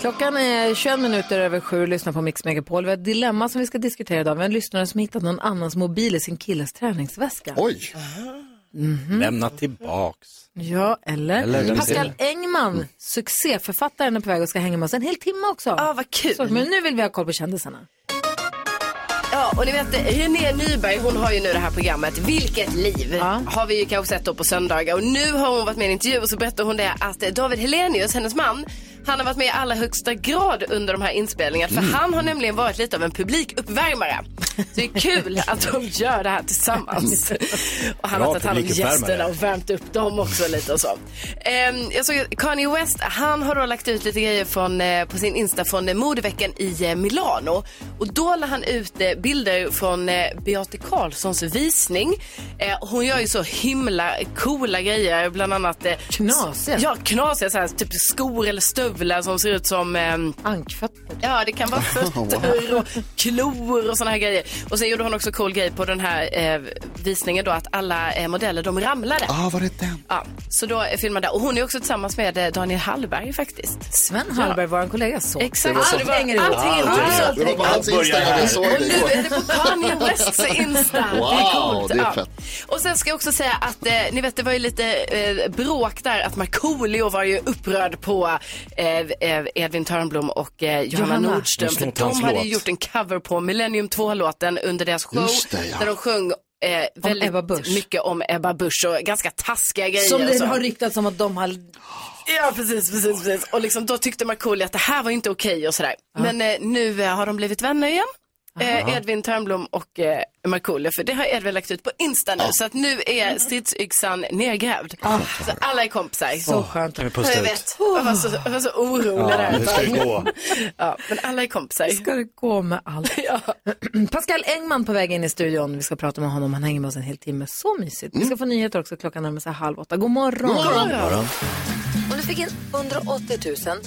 D: Klockan är 21 minuter över sju. Lyssna på Mix Megapol. Vi har ett dilemma som vi ska diskutera idag. Vi har en lyssnare som hittat någon annans mobil i sin killes träningsväska.
Q: Oj!
F: Lämna tillbaks.
D: Ja, eller?
F: Eller vem
D: Pascal
F: ser Mm.
D: Engman, succéförfattaren, är på väg och ska hänga med oss en hel timme också. Ja,
G: vad kul.
D: men nu vill vi ha koll på kändisarna.
G: Ja, och ni vet, René Nyberg, hon har ju nu det här programmet Vilket liv. Har vi ju kanske sett då på söndagar. Och nu har hon varit med i en intervju och så berättar hon det att David Helenius, hennes man, han har varit med i allra högsta grad under de här inspelningarna. För
H: Mm.
G: han har nämligen varit lite av en publikuppvärmare. Så det är kul att de gör det här tillsammans. Och han
H: Bra
G: har tagit hand om
H: publikuppvärmare.
G: gästerna och värmt upp dem också lite och så. Ehm, jag såg att Kanye West, han har då lagt ut lite grejer från, eh, på sin Insta från eh, modeveckan i eh, Milano. Och då la han ut eh, bilder från eh, Beate Karlssons visning. Eh, hon gör ju så himla coola grejer, bland annat... Eh,
D: Knasiga.
G: Ja, knasiga så här, typ skor eller stövlar som ser ut som... Eh,
D: Ankfötter.
G: Ja, det kan vara fötter och klor och såna här grejer. Och sen gjorde hon också cool grej på den här eh, visningen då att alla eh, modeller de ramlade.
Q: Ah, var det den?
G: Ja, så då eh, filmade Och hon är också tillsammans med eh, Daniel Hallberg faktiskt.
D: Sven Hallberg, vår kollega, så.
G: Exakt.
D: Det var så.
G: så det var-
D: Allting hänger ihop.
G: allting hänger
D: Allting.
G: ihop.
D: Det var på hans Instagram, jag
G: Alltså, Börjar
D: såg
G: här.
D: det
G: Och
D: igår.
G: nu är det på Kanye Wests Insta.
D: Wow, det är
G: Ja.
D: fett.
G: Och sen ska jag också säga att eh, ni vet det var ju lite eh, bråk där att Markoolio var ju upprörd på eh, eh, Edvin Törnblom och eh, Johanna,
H: Johanna.
G: Nordström.
H: Hon
G: För
H: snott
G: de
H: hans
G: hade
H: låt.
G: ju gjort en cover på Millennium 2-låten under deras show.
H: Just det, ja.
G: Där de sjöng eh, väldigt mycket om Ebba Busch och ganska taskiga grejer.
D: Som
G: och så.
D: det har ryktats om att de har...
G: Ja, precis, precis, precis. Och liksom, då tyckte Markoolio att det här var inte okej och sådär. Men eh, nu eh, har de blivit vänner igen. Eh,
H: Aha.
G: Edvin Törnblom och eh, Markoolio, för det har Edvin lagt ut på Insta nu. Så att nu
H: Mm.
G: är stridsyxan nergrävd.
H: Ah.
G: Så alla är kompisar.
H: Så skönt. Kan vi pusta
G: jag
H: ut?
G: vet. Jag var så, jag var så orolig
H: Ja,
G: där.
H: hur ska det gå?
G: ja, men alla är kompisar.
D: Ska det gå med allt? Pascal Engman på väg in i studion. Vi ska prata med honom. Han hänger med oss en hel timme. Så mysigt. Vi ska få nyheter också. Klockan närmar sig halv åtta. God morgon.
H: God morgon. God morgon.
D: Om du fick in 180 000,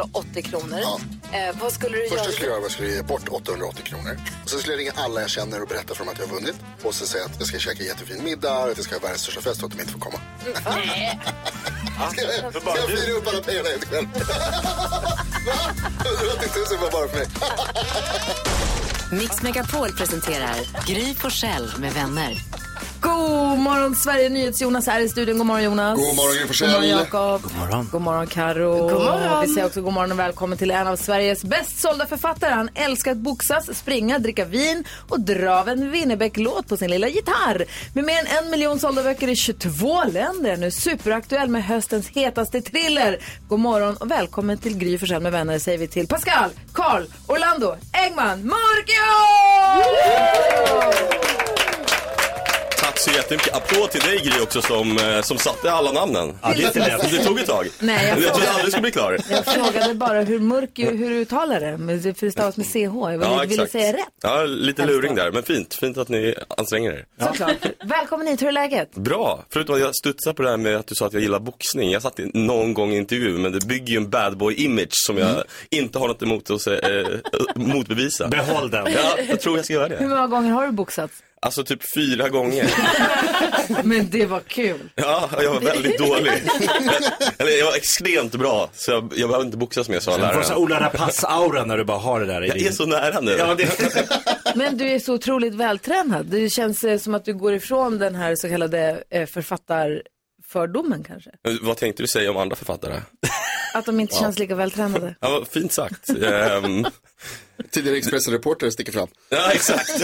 D: 880 kronor, eh, vad skulle du
I: Första
D: göra?
I: jag skulle göra var att jag skulle ge bort 880 kronor. Och sen skulle jag ringa alla jag känner och berätta för dem att jag har vunnit. Och sen säga att jag ska käka jättefin middag, att jag ska ha världens största fest och att de inte får komma.
H: Nej.
I: Ska jag ska jag fira upp alla pengarna helt själv? Va? 180 000 var bara för mig.
E: Mix Megapol presenterar Gry Forssell med vänner.
D: God morgon Sverige, NyhetsJonas är i studion. God morgon Jonas.
I: God morgon, Gry Forssell.
D: God morgon Jakob.
F: God morgon.
D: God morgon Karo.
G: God morgon.
D: Vi säger också god morgon och välkommen till en av Sveriges bäst sålda författare. Han älskar att boxas, springa, dricka vin och dra av en Winnerbäck-låt på sin lilla gitarr. Med mer än en miljon sålda böcker i 22 länder är nu superaktuell med höstens hetaste thriller. God morgon och välkommen till Gry Forssell med vänner säger vi till Pascal, Karl, Orlando, Engman, Markio!
R: Tack så jättemycket. Applåd till dig Gry också som, eh, som satte alla namnen.
D: Ja, det är inte lätt.
R: det tog ett tag.
D: Nej,
R: jag
D: jag
R: trodde
D: frågade.
R: aldrig skulle bli klar.
D: Jag frågade bara hur mörk, hur du uttalar det, men det- för det stavas med CH. Jag ville, ville säga rätt.
R: Ja, lite luring där, men fint. Fint att ni anstränger er.
D: Såklart. Välkommen hit, hur är läget?
R: Bra, förutom att jag studsar på det här med att du sa att jag gillar boxning. Jag satt i någon gång i intervju, men det bygger ju en bad boy image som jag
F: Mm.
R: inte har något emot att se, eh, motbevisa. Behåll den. Ja, jag tror jag ska göra
D: Hur
R: det.
D: många gånger har du boxats?
R: Alltså typ fyra gånger.
D: Men det var kul.
R: Ja, jag var väldigt dålig. Eller jag var extremt bra, så jag, jag behöver inte boxas mer, sa
F: Du får så här
R: läraren.
F: Ola Rapace-aura när du bara har det där i
R: Jag
F: din...
R: är så nära nu.
F: Ja, det...
D: Men du är så otroligt vältränad. Det känns eh, som att du går ifrån den här så kallade eh, författarfördomen kanske.
R: Vad tänkte du säga om andra författare?
D: Att de inte
R: Ja.
D: känns lika vältränade.
R: Ja, vad fint sagt. Ehm,
I: Tidigare Expressen-reporter sticker fram.
R: ja, exakt.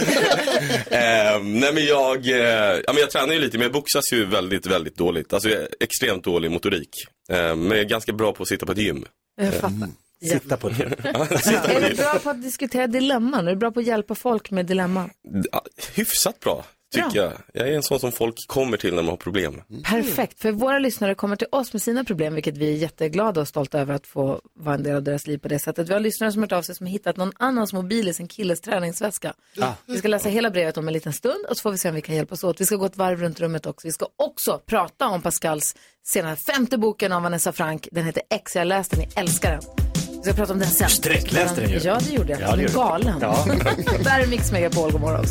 R: Ehm, nej, men jag, eh, ja, men jag tränar ju lite, men jag boxas ju väldigt, väldigt dåligt. Alltså, jag är extremt dålig i motorik. Ehm, men jag är ganska bra på att sitta på ett gym.
D: Jag fattar.
F: Mm. Sitta på ett gym.
D: Är du bra på att diskutera dilemman? Är du bra på att hjälpa folk med dilemman?
R: Ja, Hyfsat bra, tycker
D: Bra. Mm.
R: jag. Jag är en sån som folk kommer till när de har problem.
D: Perfekt, för våra lyssnare kommer till oss med sina problem, vilket vi är jätteglada och stolta över att få vara en del av deras liv på det sättet. Vi har lyssnare som hört av sig som har hittat någon annans mobil i sin killes träningsväska.
A: Ah.
D: Vi ska läsa hela brevet om en liten stund och så får vi se om vi kan hjälpas åt. Vi ska gå ett varv runt rummet också. Vi ska också prata om Pascals senaste femte boken av Vanessa Frank. Den heter X, jag läste den, jag älskar den. Vi ska prata om den sen.
A: Sträckläste den ju.
D: Ja, det gjorde jag.
A: Ja,
D: Ja,
A: det
D: är
A: gjorde du.
D: galen.
A: Ja.
D: Där är Mix Megapol, god morgon.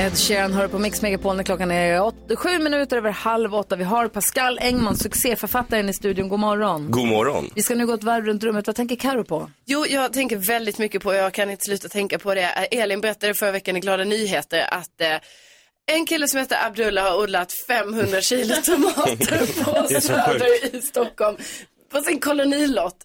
D: Ed Sheeran hör på Mix Megapol när klockan är åt, sju minuter över halv åtta. Vi har Pascal Engman, succéförfattaren i studion. God morgon.
R: God morgon.
D: Vi ska nu gå ett varv runt rummet. Vad tänker Karo på?
G: Jo, jag tänker väldigt mycket på, jag kan inte sluta tänka på det. Eh, Elin berättade förra veckan i Glada Nyheter att eh, en kille som heter Abdullah har odlat 500 kilo tomater
A: Det är
G: på
A: så
G: Söder i Stockholm. På sin kolonilott.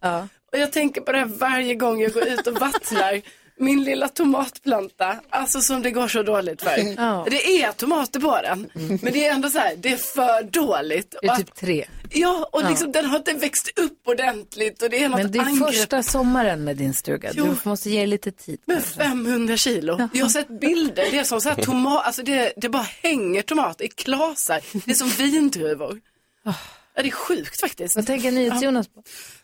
G: Och jag tänker på det här varje gång jag går ut och vattnar min lilla tomatplanta. Alltså som det går så dåligt för.
D: Ja. Mm.
G: Det är tomater på den. Men det är ändå så här, det är för dåligt.
D: Det är
G: Och
D: typ
G: att-
D: tre.
G: Ja, och
D: Ja.
G: liksom den har inte växt upp ordentligt och det är något
D: Men det är
G: angrepp.
D: första sommaren med din stuga.
G: Jo.
D: Du måste ge dig lite tid.
G: Men 500 kilo. Jag har sett bilder. Det är som så här tomat, alltså det, det bara hänger tomater i klasar. Det är som vindruvor. Ja, det är sjukt faktiskt.
D: Vad tänker NyhetsJonas på?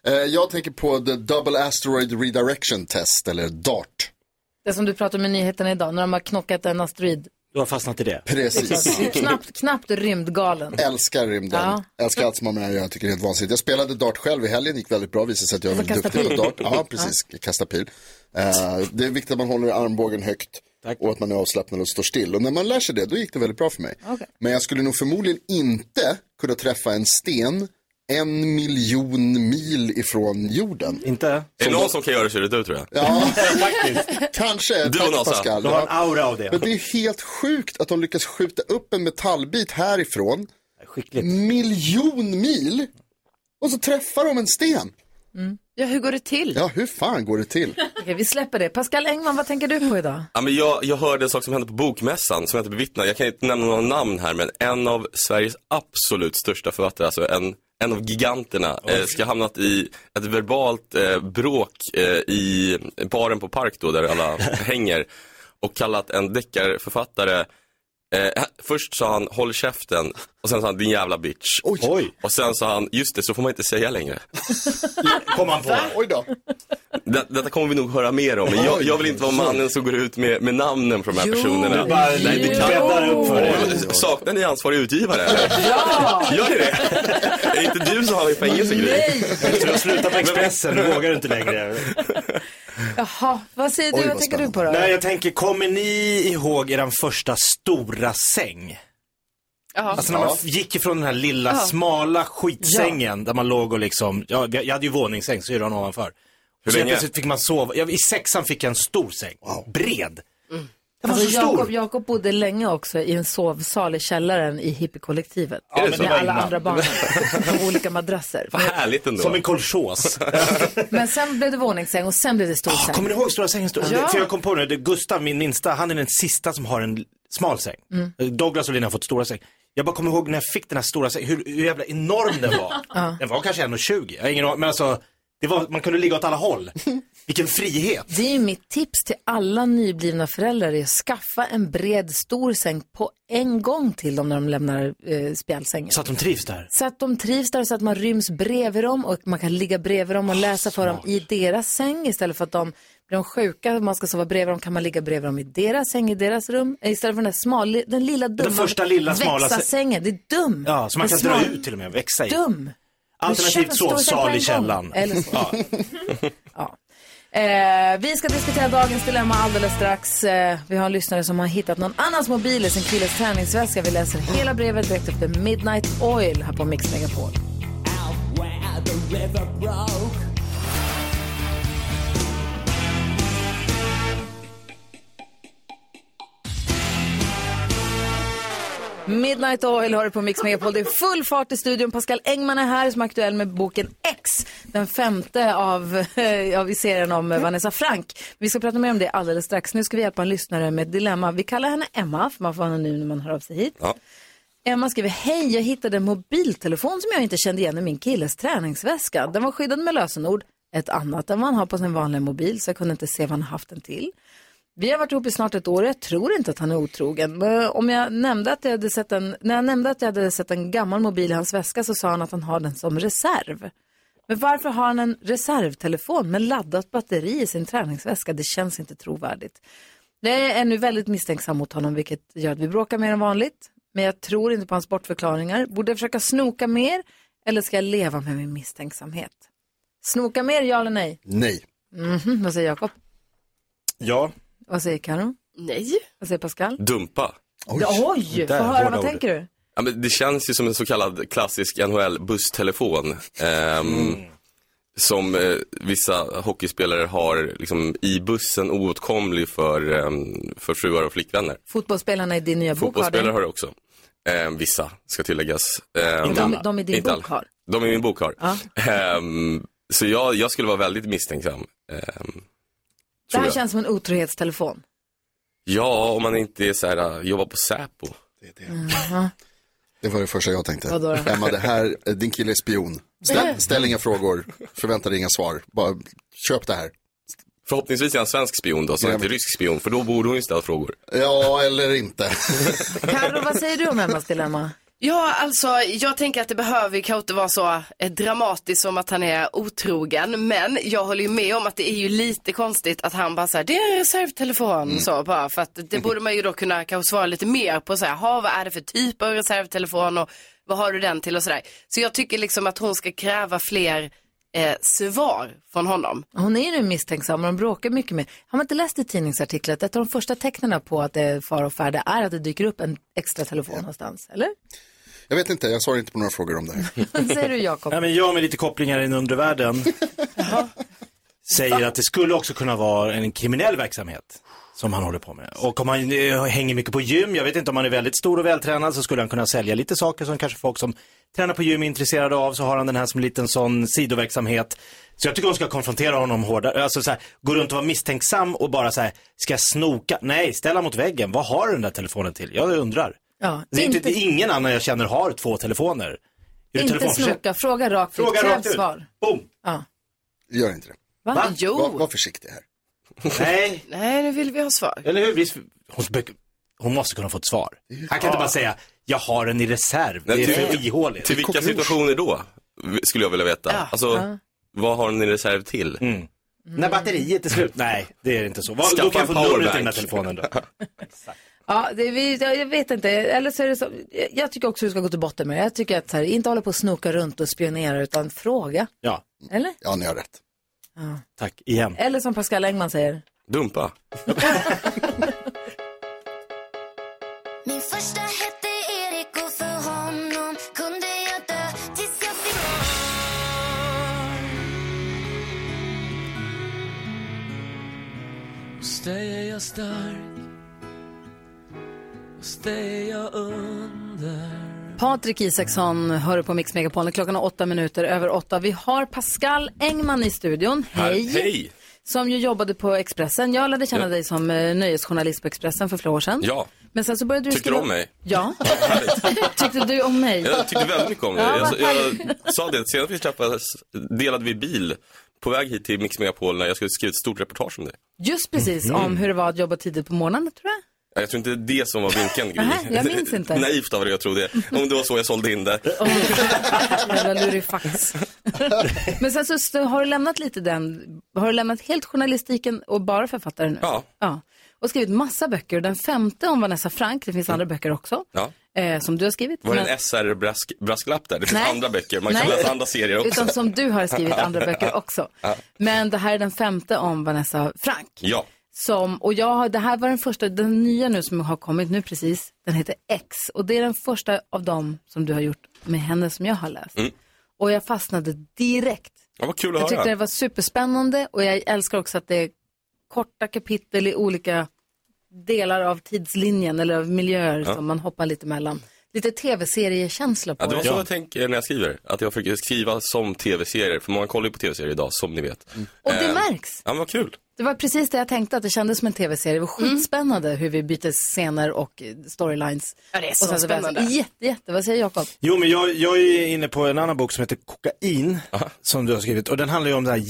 I: Eh, jag tänker på The Double Asteroid Redirection Test, eller DART.
D: Det som du pratade om i nyheterna idag, när de har knockat en asteroid.
R: Du har fastnat i det.
I: Precis.
D: Du är knappt, knappt rymdgalen.
I: Älskar rymden.
D: Ja.
I: Älskar allt som har med det här att göra. Jag tycker det är helt vansinnigt. Jag spelade dart själv i helgen. gick väldigt bra. Visade sig att jag är
D: Alltså,
I: väldigt
D: kasta
I: duktig på dart.
D: pil.
I: Ja, precis. Kasta pil. Eh, det är viktigt att man håller armbågen högt. Och att man är avslappnad och står still. Och när man lär sig det, då gick det väldigt bra för mig.
D: Okej.
I: Men jag skulle nog förmodligen inte kunna träffa en sten en miljon mil ifrån jorden.
F: Inte?
R: Det är någon som kan göra sig det ut, tror jag.
I: Ja, Kanske.
R: Du
I: Tack,
R: och Nasa,
I: Pascal.
R: du har
I: Ja.
F: en aura av det.
I: Men det är helt sjukt att de lyckas skjuta upp en metallbit härifrån.
F: Skickligt.
I: Miljon mil. Och så träffar de en sten.
D: Ja, hur går det till?
I: Ja, hur fan går det till?
D: Okej, vi släpper det. Pascal Engman, vad tänker du på idag?
R: Ja, men jag, jag hörde en sak som hände på bokmässan som jag inte bevittnade. Jag kan inte nämna några namn här men en av Sveriges absolut största författare, alltså en, en av giganterna, eh, ska ha hamnat i ett verbalt eh, bråk eh, i baren på Park då där alla hänger och kallat en deckarförfattare Eh, först sa han håll käften och sen sa han din jävla bitch.
F: Oj.
R: Och sen sa han just det så får man inte säga längre.
F: Kom han på.
I: Oj då.
R: Det, detta kommer vi nog höra mer om. Men jag, jag vill inte vara mannen som går ut med, med namnen från de här
F: Jo,
R: personerna.
F: du bara bäddar upp för det.
R: Saknar ni ansvarig utgivare? eller? Gör ni det? Är det inte du som har i fängelse Gry?
F: Du har slutat på Expressen, du vågar inte längre.
D: Jaha, vad säger du? vad tänker du på då?
F: Nej, jag tänker, kommer ni ihåg er första stora säng?
G: Ja.
F: Alltså när man f- gick ifrån den här lilla
G: Ja.
F: smala skitsängen där man låg och liksom, ja, jag jag hade ju våningssäng, syrran ovanför.
R: Hur
F: så helt
R: länge?
F: plötsligt fick man sova. Jag, I sexan fick jag en stor säng. Bred. Den var
D: Alltså,
F: så stor.
D: Jakob, Jakob bodde länge också i en sovsal i källaren i hippiekollektivet.
R: Är det så?
D: med alla
R: Innan.
D: andra barnen på olika madrasser.
R: Vad härligt ändå.
F: Som en kolchos.
D: Men sen blev det våningssäng och sen blev det
R: Ah,
D: stor säng.
F: Kommer ni ihåg stora sängen? Stor?
D: Ja.
F: För jag kom på nu, det är Gustav, min minsta, han är den sista som har en smal säng.
D: Mm.
F: Douglas och Lina har fått stora säng. Jag bara kommer ihåg när jag fick den här stora sängen, hur, hur jävla enorm den var.
D: Ja.
F: Den var kanske 1,20. Jag har ingen aning, men alltså, det var, man kunde ligga åt alla håll. Vilken frihet.
D: Det är ju mitt tips till alla nyblivna föräldrar, är att skaffa en bred stor säng på en gång till dem när de lämnar eh, spjälsängen.
F: Så att de trivs där.
D: Så att de trivs där, så att man ryms bredvid dem och man kan ligga bredvid dem och läsa för dem i deras säng istället för att de blir de sjuka och man ska sova bredvid dem kan man ligga bredvid dem i deras säng, i deras rum. Istället för den där smal, den lilla dumma
F: första lilla smala sä-
D: sängen. Det är dum.
F: Ja, så man
D: Det är
F: kan dra
D: smal-
F: ut till och med, växa i.
D: Dum. Köp en
F: Alternativt
D: stor säng på en
F: sovsal i
D: gång.
F: källaren.
D: Eller så.
F: Ja.
D: Eh, vi ska diskutera dagens dilemma alldeles strax. Eh, vi har en lyssnare som har hittat någon annans mobil i sin killes träningsväska. Vi läser hela brevet direkt efter Midnight Oil här på Mix Megapol. Midnight Oil har du på Mix Megapol. Det är full fart i studion. Pascal Engman är här som är aktuell med boken X. Den femte av, av i serien om eh, Vanessa Frank. Vi ska prata mer om det alldeles strax. Nu ska vi hjälpa en lyssnare med ett dilemma. Vi kallar henne Emma, för man får vara anonym när man hör av sig hit.
R: Ja.
D: Emma skriver, hej, jag hittade en mobiltelefon som jag inte kände igen i min killes träningsväska. Den var skyddad med lösenord, ett annat än vad han har på sin vanliga mobil, så jag kunde inte se vad han haft den till. Vi har varit ihop i snart ett år och jag tror inte att han är otrogen. Men Om jag nämnde att jag hade sett en, när jag nämnde att jag hade sett en gammal mobil i hans väska så sa han att han har den som reserv. Men varför har han en reservtelefon med laddat batteri i sin träningsväska? Det känns inte trovärdigt. Jag är nu väldigt misstänksam mot honom vilket gör att vi bråkar mer än vanligt. Men jag tror inte på hans bortförklaringar. Borde jag försöka snoka mer eller ska jag leva med min misstänksamhet? Snoka mer, ja eller nej?
I: Nej.
D: Mhm, Vad säger Jakob?
F: Ja.
D: Vad säger Karo?
G: Nej.
D: Vad säger Pascal?
R: Dumpa.
D: Oj, Oj få
R: Där,
D: höra,
R: hårda
D: vad
R: ord.
D: tänker du?
R: Ja, men det känns ju som en så kallad klassisk NHL-busstelefon. ehm,
F: Mm.
R: Som eh, vissa hockeyspelare har liksom, i bussen oåtkomlig för, ehm, för fruar och flickvänner.
D: Fotbollsspelarna i din nya bok har
R: Fotbollsspelare
D: det.
R: har det också. Ehm, vissa, ska tilläggas. Ehm,
D: Inte alla. De- de i din bok har.
R: De i min bok har.
D: Ja.
R: Ehm, så jag, jag skulle vara väldigt misstänksam. Ehm,
D: Det
R: tror
D: här
R: jag.
D: känns som en otrohetstelefon.
R: Ja, om man inte är så här, äh, jobbar på Säpo.
D: Jaha.
I: Det var det första jag tänkte.
D: Vadå då?
I: Emma, det här, eh, din kille är spion. Ställ, ställ inga frågor, förvänta dig inga svar. Bara köp det här.
R: Förhoppningsvis är han svensk spion då, så han inte är rysk spion, för då borde hon ju ställa frågor.
I: Ja, eller inte.
D: Karo, vad säger du om Emmas dilemma?
G: Ja, alltså jag tänker att det behöver ju kanske inte vara så eh, dramatiskt som att han är otrogen. Men jag håller ju med om att det är ju lite konstigt att han bara så här, det är en reservtelefon. Så bara, för att det borde man ju då kunna kanske svara lite mer på så här, "Ha, vad är det för typ av reservtelefon och vad har du den till och sådär. Så jag tycker liksom att hon ska kräva fler eh, svar från honom.
D: Hon är ju nu misstänksam och de bråkar mycket med. Har man inte läst i tidningsartiklar att ett av de första tecknen på att det är fara och färde är att det dyker upp en extra telefon någonstans, eller?
I: Jag vet inte, jag svarar inte på några frågor om det här.
D: Vad säger du, Jakob?
F: Nej, men jag med lite kopplingar i den undre världen säger att det skulle också kunna vara en kriminell verksamhet som han håller på med. Och om han eh, hänger mycket på gym, jag vet inte om han är väldigt stor och vältränad så skulle han kunna sälja lite saker som kanske folk som tränar på gym är intresserade av. Så har han den här som en liten sån sidoverksamhet. Så jag tycker hon ska konfrontera honom hårdare. Alltså så här, gå runt och vara misstänksam och bara så här, ska jag snoka? Nej, ställa mot väggen. Vad har den där telefonen till? Jag undrar.
D: Ja,
F: Det är inte,
D: inte,
F: ingen annan jag känner har två telefoner. Är det
D: inte
F: telefonförsäljning?
D: snoka, fråga rakt ut,
F: Fråga
D: kräv
F: rakt ut.
D: svar.
F: Boom.
D: Ja.
I: Gör inte det.
D: Va? Va? Jo.
I: Var, var försiktig här.
F: Nej.
G: Nej, nu vill vi ha svar.
F: Eller hur? Visst- Hon, spe- hon måste kunna få ett svar. Han kan inte bara säga, jag har den i reserv.
R: Nej,
F: det är
R: till-
F: för ihåligt.
R: Till vilka situationer då? Skulle jag vilja veta.
F: Ja.
R: Alltså,
F: Ja.
R: vad har den i reserv till?
F: När batteriet är slut. Nej, det är inte så. Vad-
R: Skaffa
F: Då kan jag
R: en
F: få numret till
R: powerbank.
F: den här telefonen då.
D: Ja, det, vi, jag jag vet inte. Eller så är det så, jag- jag tycker också du ska gå till botten med det. Jag tycker att så här, inte hålla på och snoka runt och spionera utan fråga.
F: Ja.
D: Eller?
I: Ja, ni har rätt.
D: Ja.
F: Tack, igen.
D: Eller som Pascal Engman säger.
R: Dumpa.
S: Min första hette Erik och för honom kunde jag dö tills jag fick barn.
T: Hos dig är jag stark, hos dig är jag under.
D: Patrik Isaksson hör du på Mix Megapol. Klockan är åtta minuter över åtta. Vi har Pascal Engman i studion. Hej!
R: Hej!
D: Som ju jobbade på Expressen. Jag lärde känna
R: Ja.
D: dig som eh, nöjesjournalist på Expressen för flera år sedan.
R: Ja.
D: Men sen så började du
R: Tyckte du
D: skriva...
R: om mig?
D: Ja. Tyckte du om mig?
R: Jag tyckte väldigt mycket om dig.
D: Ja,
R: Jag,
D: vad
R: jag sa det, senast vi träffades delade vi bil på väg hit till Mix Megapol när jag skulle skriva ett stort reportage om dig.
D: Just precis
R: Mhm.
D: om hur det var att jobba tidigt på morgonen, tror jag.
R: Ja, Jag tror inte det är det som var vinkeln, Gry.
D: Nej, jag minns inte.
R: Naivt av dig att tro det. Om det var så jag sålde in det.
D: Jävla lurifax. Men sen så st- har du lämnat lite den, har du lämnat helt journalistiken och bara författare nu?
R: Ja.
D: ja. Och skrivit massa böcker. Den femte om Vanessa Frank, det finns andra böcker också,
R: Mm. Ja.
D: eh, som du har skrivit.
R: Var det
D: Men-
R: en SR-brasklapp där? Det finns
D: Nej.
R: andra böcker. Man kan
D: Nej.
R: läsa andra serier också.
D: Utan som du har skrivit andra böcker också.
R: Ja.
D: Men det här är den femte om Vanessa Frank.
R: Ja.
D: Som, och jag, har- det här var den första, den nya nu som har kommit nu precis, den heter X. Och det är den första av dem som du har gjort med henne som jag har läst.
R: Mm.
D: Och jag fastnade direkt.
R: Ja, vad kul att
D: Jag tyckte det
R: höra.
D: var superspännande och jag älskar också att det är korta kapitel i olika delar av tidslinjen eller av miljöer
R: Ja.
D: som man hoppar lite mellan. Lite tv-seriekänsla på
R: Ja, det var så jag tänker när jag skriver. Att jag försöker skriva som tv-serier. För många kollar ju på tv-serier idag, som ni vet.
D: Och det
R: Eh,
D: märks.
R: Ja, men vad kul. Mm.
D: Det var precis det jag tänkte, att det kändes som en tv-serie. Det var skitspännande hur vi bytte scener och eh, storylines. Ja, det
G: är så spännande.
D: Jätte, jätte. Vad säger Jakob?
F: Jo, men jag, jag är inne på en annan bok som heter Kokain, som du har skrivit. Och den handlar ju om den här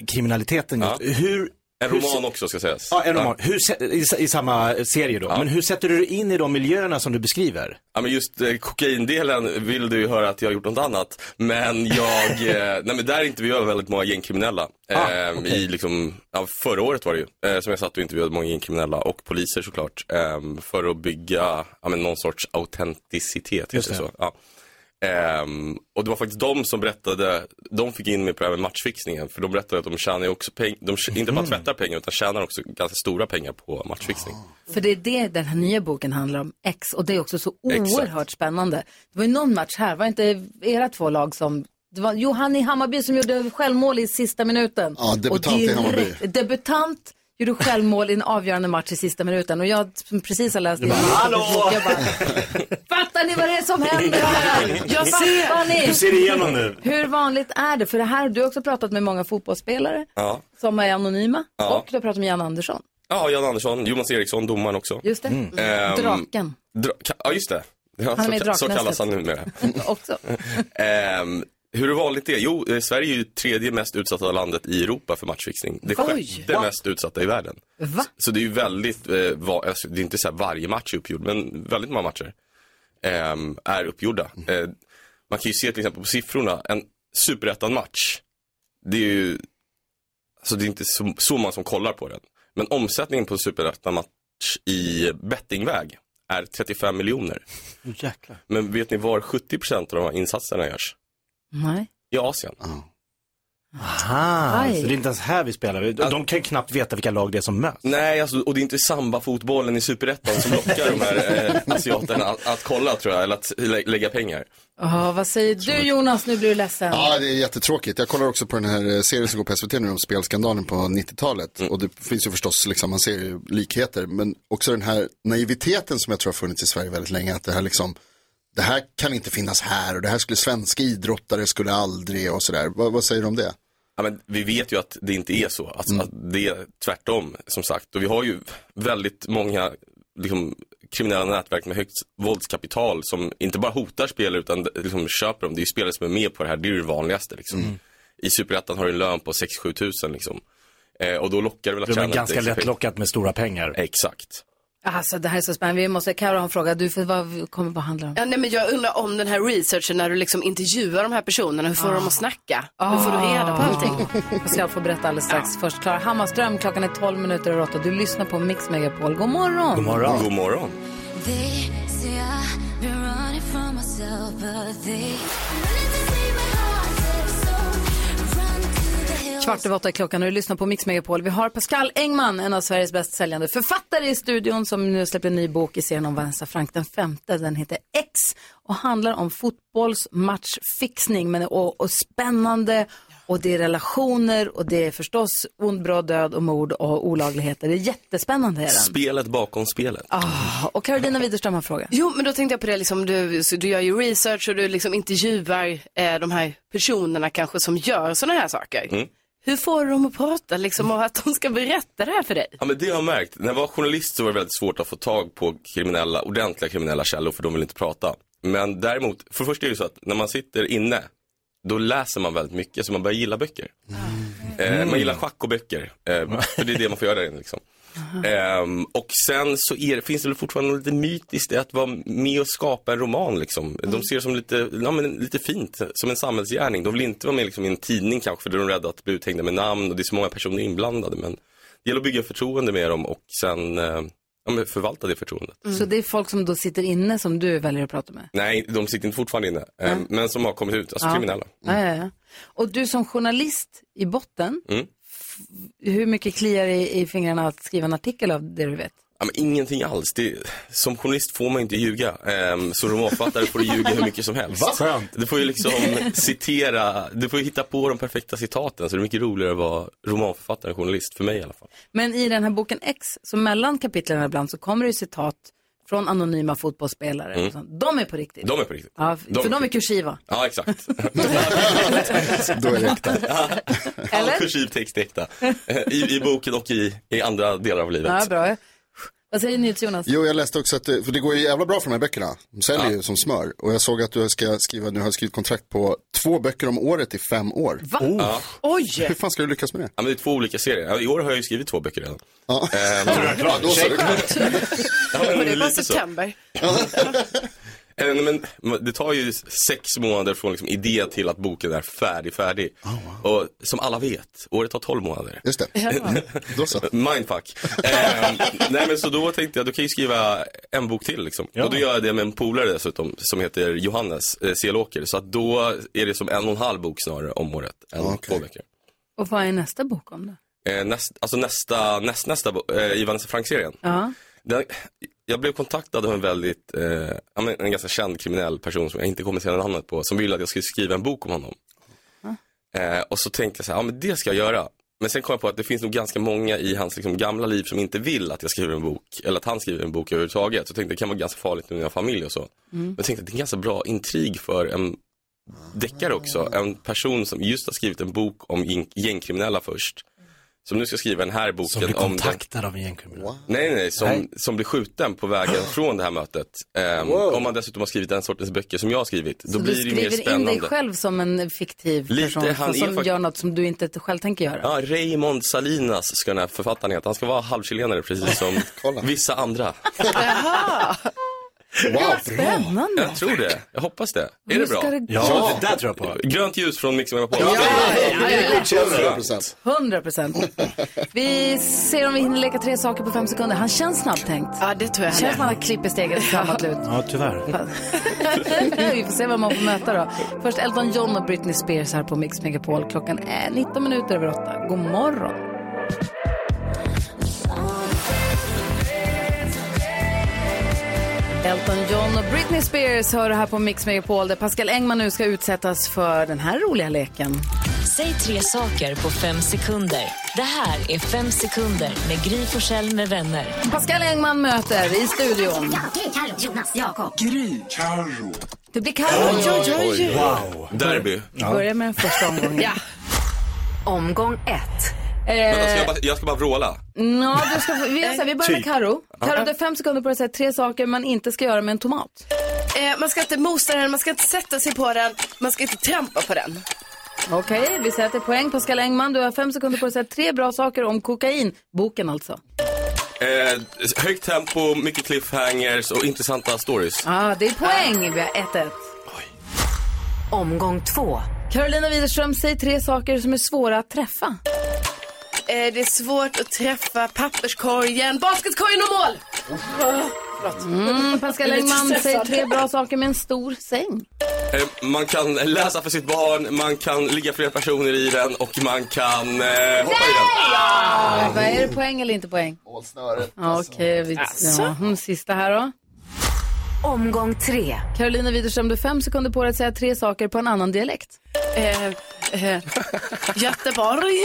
F: gängkriminaliteten. just. Hur,
R: En
F: hur,
R: roman också ska sägas.
F: Ja, en roman. Hur, se- i, I samma serie då. Men hur sätter du dig in i de miljöerna som du beskriver?
R: Ja men just eh, kokaindelen vill du ju höra att jag har gjort något annat. Men jag, eh, nej men där intervjuade jag väldigt många gängkriminella. eh, I liksom, ja, förra året var det ju. Eh, som jag satt och intervjuade många gängkriminella och poliser såklart. Eh, för att bygga, ja men någon sorts autenticitet.
F: Just
R: heter det
F: det.
R: Så. Ja. Ehm, och det var faktiskt de som berättade, de fick in mig på det här med matchfixningen. För de berättade att de tjänar ju också pengar, de tj- inte
D: Mm.
R: bara tvättar pengar utan tjänar också ganska stora pengar på matchfixning.
D: Ah. För det är det den här nya boken handlar om, X. Och det är också så oerhört spännande. Det var ju någon match här, var inte era två lag som... Det var Johan i Hammarby som gjorde självmål i sista minuten.
I: Ja, debutant
D: Och
I: i Hammarby.
D: Debutant gjorde självmål i en avgörande match i sista minuten. Och jag som precis har läst... igenom- Jag bara, Fattar ni vad det är som händer här?
S: Jag
D: Fattar
S: ser-
D: ni?
S: du ser igenom nu.
D: Hur vanligt är det? För det här, har du har också pratat med många fotbollsspelare
R: Ja.
D: som är anonyma.
R: Ja.
D: Och du har pratat med Jan Andersson.
R: Ja, Jan Andersson, Jonas Eriksson, domaren också.
D: Just det. Mm.
R: Ehm,
D: Draken.
R: Dra- ka- ja, just det. Ja,
D: Han är
R: så,
D: med i
R: ka- så
D: Draknästet.
R: kallas han numera.
D: också.
R: Ehm, hur vanligt det är? Jo, eh, Sverige är ju tredje mest utsatta landet i Europa för matchfixning. Det
D: Oj.
R: sjätte
D: Va?
R: mest utsatta i världen.
D: Va?
R: Så det är ju väldigt, eh, va- alltså, det är inte så här varje match är uppgjord, men väldigt många matcher ehm, är uppgjorda.
D: Mm.
R: Eh, man kan ju se till exempel på siffrorna, en superettan-match, det är ju, alltså det är inte så, så många som kollar på den. Men omsättningen på en superettan-match i bettingväg är 35 miljoner.
F: Jäklar.
R: Men vet ni var 70% av de här insatserna görs?
D: Nej.
R: I Asien.
F: Aha,
R: Aj.
F: Ah, så det är inte ens här vi spelar. De- De kan ju knappt veta vilka lag det är som möts.
R: Alltså- Nej, alltså, och det är inte samba-fotbollen i superettan som lockar de här eh, asiaterna att, att kolla tror jag, eller att lä- lägga pengar.
D: Ja, vad säger du Jonas? Nu blir du ledsen.
I: Ja, det är jättetråkigt. Jag kollar också på den här eh, serien som går på SVT nu om spelskandalen på 90-talet. Och det finns ju förstås, liksom, man ser ju likheter. Men också den här naiviteten som jag tror har funnits i Sverige väldigt länge. Att det här liksom, det här kan inte finnas här och det här skulle svenska idrottare skulle aldrig och sådär. Vad, vad säger du om det?
R: Ja, men vi vet ju att det inte är så, att, att det är tvärtom som sagt. Och vi har ju väldigt många liksom, kriminella nätverk med högt våldskapital som inte bara hotar spelare utan d- liksom, köper dem. Det är ju spelare som är med på det här, det är ju det vanligaste. Liksom. I superettan har du en lön på 6-7 tusen liksom. Eh, och då lockar det väl att
F: De är
R: tjäna lite
F: ganska
R: extra pengar.
F: lättlockat med stora pengar.
R: Exakt.
D: Alltså det här är så spännande. Vi måste, Carro har en fråga. Du, för vad kommer vad handlar det om?
G: Ja, nej, men jag undrar om den här researchen när du liksom intervjuar de här personerna, hur får
D: Ah.
G: du dem att snacka? Hur får du reda på allting?
D: Jag ska få berätta alldeles strax. Först Klara Hammarström, klockan är 12 minuter över 8. Du lyssnar på Mix Megapol. God morgon!
R: God morgon. God morgon.
S: They say I've been running from myself, but they
D: Kvart över åtta är klockan och du lyssnar på Mix Megapol. Vi har Pascal Engman, en av Sveriges bäst säljande författare i studion som nu släpper en ny bok i serien om Vanessa Frank den femte. Den heter X och handlar om fotbollsmatchfixning men är och, och spännande Och det är relationer och det är förstås ond, bråd, död och mord och olagligheter. Det är jättespännande. Är den.
R: Spelet bakom spelet.
D: Ah, och Carolina Widerström har en fråga.
G: Jo, men då tänkte jag på det, liksom, du, så du gör ju research och du liksom intervjuar eh, de här personerna kanske som gör sådana här saker.
R: Mm.
G: Hur får du dem att prata liksom och att de ska berätta det här för dig?
R: Ja, men det har jag märkt. När jag var journalist så var det väldigt svårt att få tag på kriminella, ordentliga kriminella källor för de vill inte prata. Men däremot, för det första är det ju så att när man sitter inne, då läser man väldigt mycket så man börjar gilla böcker. Eh, man gillar schack och böcker, eh, för det är det man får göra där inne liksom. Ehm, och sen så är, det- finns det väl fortfarande något lite mytiskt i att vara med och skapa en roman liksom. De ser det som lite, ja, men, lite fint, som en samhällsgärning. De vill inte vara med liksom, i en tidning kanske för då är de rädda att bli uthängda med namn och det är så många personer inblandade. Men det gäller att bygga förtroende med dem och sen eh, ja, men förvalta det förtroendet.
D: Så det är folk som då sitter inne som du väljer att prata med?
R: Nej, de sitter inte fortfarande inne, eh, men som har kommit ut, alltså
D: Ja.
R: kriminella.
D: Ja, ja, ja. Och du som journalist i botten,
R: Mm.
D: hur mycket kliar i, i fingrarna att skriva en artikel av det du vet?
R: Ja, men ingenting alls. Det, som journalist får man inte ljuga. Ehm, som romanförfattare får du ljuga hur mycket som helst.
D: Va? Skönt.
R: Du får ju liksom citera, du får ju hitta på de perfekta citaten. Så det är mycket roligare att vara romanförfattare än journalist, för mig i alla fall.
D: Men i den här boken X, så mellan kapitlen ibland så kommer det ju citat från anonyma fotbollsspelare.
R: Mm.
D: Och sånt. De är på riktigt.
R: De är på riktigt.
D: Ja, för
R: De-
D: de är kursiva.
R: Ja, exakt.
I: Då är det äkta.
R: All kursiv text är äkta. Eh, I, I boken och i, i andra delar av livet.
D: Ja, bra. Vad säger ni till Jonas?
I: Jo, jag läste också att det, för det går ju jävla bra för de här böckerna. De säljer ju som smör. Och jag såg att du ska skriva, nu har skrivit kontrakt på två böcker om året i fem år.
D: Va?
R: Ja.
D: Oj!
I: Hur fan ska du lyckas med det?
R: Ja, men det är två olika serier. Ja, I år har jag ju skrivit två böcker redan.
I: Ja.
R: Ehm,
I: Tror jag är klar.
R: ja, då så, det är klart. Ja, men
G: Men det var
R: lite så.
G: september.
R: Eh, nej, men det tar ju sex månader från liksom idé till att boken är färdig, färdig. Och som alla vet, året tar tolv månader.
I: Ah, Just det. Då så.
R: Mindfuck. Eh, nej men så då tänkte jag, då kan jag ju skriva en bok till liksom. Och då gör jag det med en polare dessutom, som heter Johannes eh, Selåker. Så att då är det som en och en halv bok snarare om året, än två veckor.
D: Och vad är nästa bok om då?
R: Eh, näst, alltså nästa, näst, nästa, bo- eh, i Vanessa Frank-serien.
D: Ja.
R: Den, jag blev kontaktad av en väldigt, eh, ja, men en ganska känd kriminell person som jag inte kommer säga namnet på, som ville att jag skulle skriva en bok om honom. Eh, och så tänkte jag så här, ja men det ska jag göra. Men sen kom jag på att det finns nog ganska många i hans liksom, gamla liv som inte vill att jag skriver en bok, eller att han skriver en bok överhuvudtaget. Så tänkte jag, det kan vara ganska farligt med mina familj och så.
D: Mm.
R: Men jag tänkte att det är en ganska bra intrig för en deckare också. En person som just har skrivit en bok om gäng- gängkriminella först. Som nu ska skriva den här boken
F: Som blir
R: om den
F: kontaktad av en gängkriminell.
R: Nej, nej, som,
F: Nej.
R: som blir skjuten på vägen från det här mötet. Ehm,
F: Wow.
R: Om man dessutom har skrivit den sortens böcker som jag har skrivit, då
D: så
R: blir
D: du
R: det mer
D: skriver in
R: spännande.
D: dig själv som en fiktiv
R: Lite,
D: person
R: han är
D: som
R: fakt-
D: gör något som du inte själv tänker göra.
R: Ja, Raymond Salinas ska den här författaren heta. Han ska vara halvchilenare precis som vissa andra.
D: Vad spännande.
R: Jag tror det. Jag hoppas det. Är
D: Hur
R: det bra?
D: ska det gå? Ja,
R: det där tror jag på. Grönt ljus från Mix Megapol.
D: Ja, ja, ja, ja.
R: Skönt.
D: 100 procent. Vi ser om vi hinner leka tre saker på fem sekunder. Han känns snabbtänkt.
G: Ja, det tror jag
D: Känns
G: han är.
D: som han har klipp i steget framåt lut.
F: Ja, tyvärr.
D: vi får se vad man får möta då. Först Elton John och Britney Spears här på Mix Megapol. Klockan är 19 minuter över 8. God morgon. Elton John och Britney Spears hör det här på Mix Megapol där Pascal Engman nu ska utsättas för den här roliga leken.
E: Säg tre saker på fem sekunder. Det här är Fem sekunder med Gry Forssell med vänner.
D: Pascal Engman möter i studion.
E: Gry, Carro, Jonas, Jakob.
A: Gry.
R: Carro.
D: Det blir Carro.
R: Wow. Derby.
D: Vi börjar med den första omgången. ja. Omgång ett.
R: Vänta, ska
D: Eh,
R: jag, bara, jag ska bara vråla.
D: nå, du ska, få- vi, gör så här, vi börjar med
R: Typ.
D: Karo. Karo, du har fem sekunder på dig att säga tre saker man inte ska göra med en tomat.
G: Eh, man ska inte mosa den, man ska inte sätta sig på den, man ska inte trampa på den.
D: Okej, vi säger att det är poäng. Pascal Engman, du har fem sekunder på dig att säga tre bra saker om kokain. Boken alltså.
R: Eh, högt tempo, mycket cliffhangers och intressanta stories.
D: Ja, ah, det är poäng. Vi har 1-1. Omgång två. Carolina Widerström, säg tre saker som är svåra att träffa.
G: Eh, det är svårt att träffa papperskorgen, basketkorgen och mål! Ah, förlåt.
D: Mm, Pascal
G: Jag är lite
D: Engman, säg
G: stressad.
D: tre bra saker med en stor säng.
R: Eh, man kan läsa för sitt barn, man kan ligga flera personer i den och man kan eh, hoppa i den.
D: Ah, vad är det, poäng eller inte poäng?
I: Snöret.
D: Ja, Okej, vi
G: Alltså.
D: ja, hon sista här då. Omgång tre. Carolina Widerström, du har fem sekunder på dig att säga tre saker på en annan dialekt.
G: Eh, Eh, Göteborg.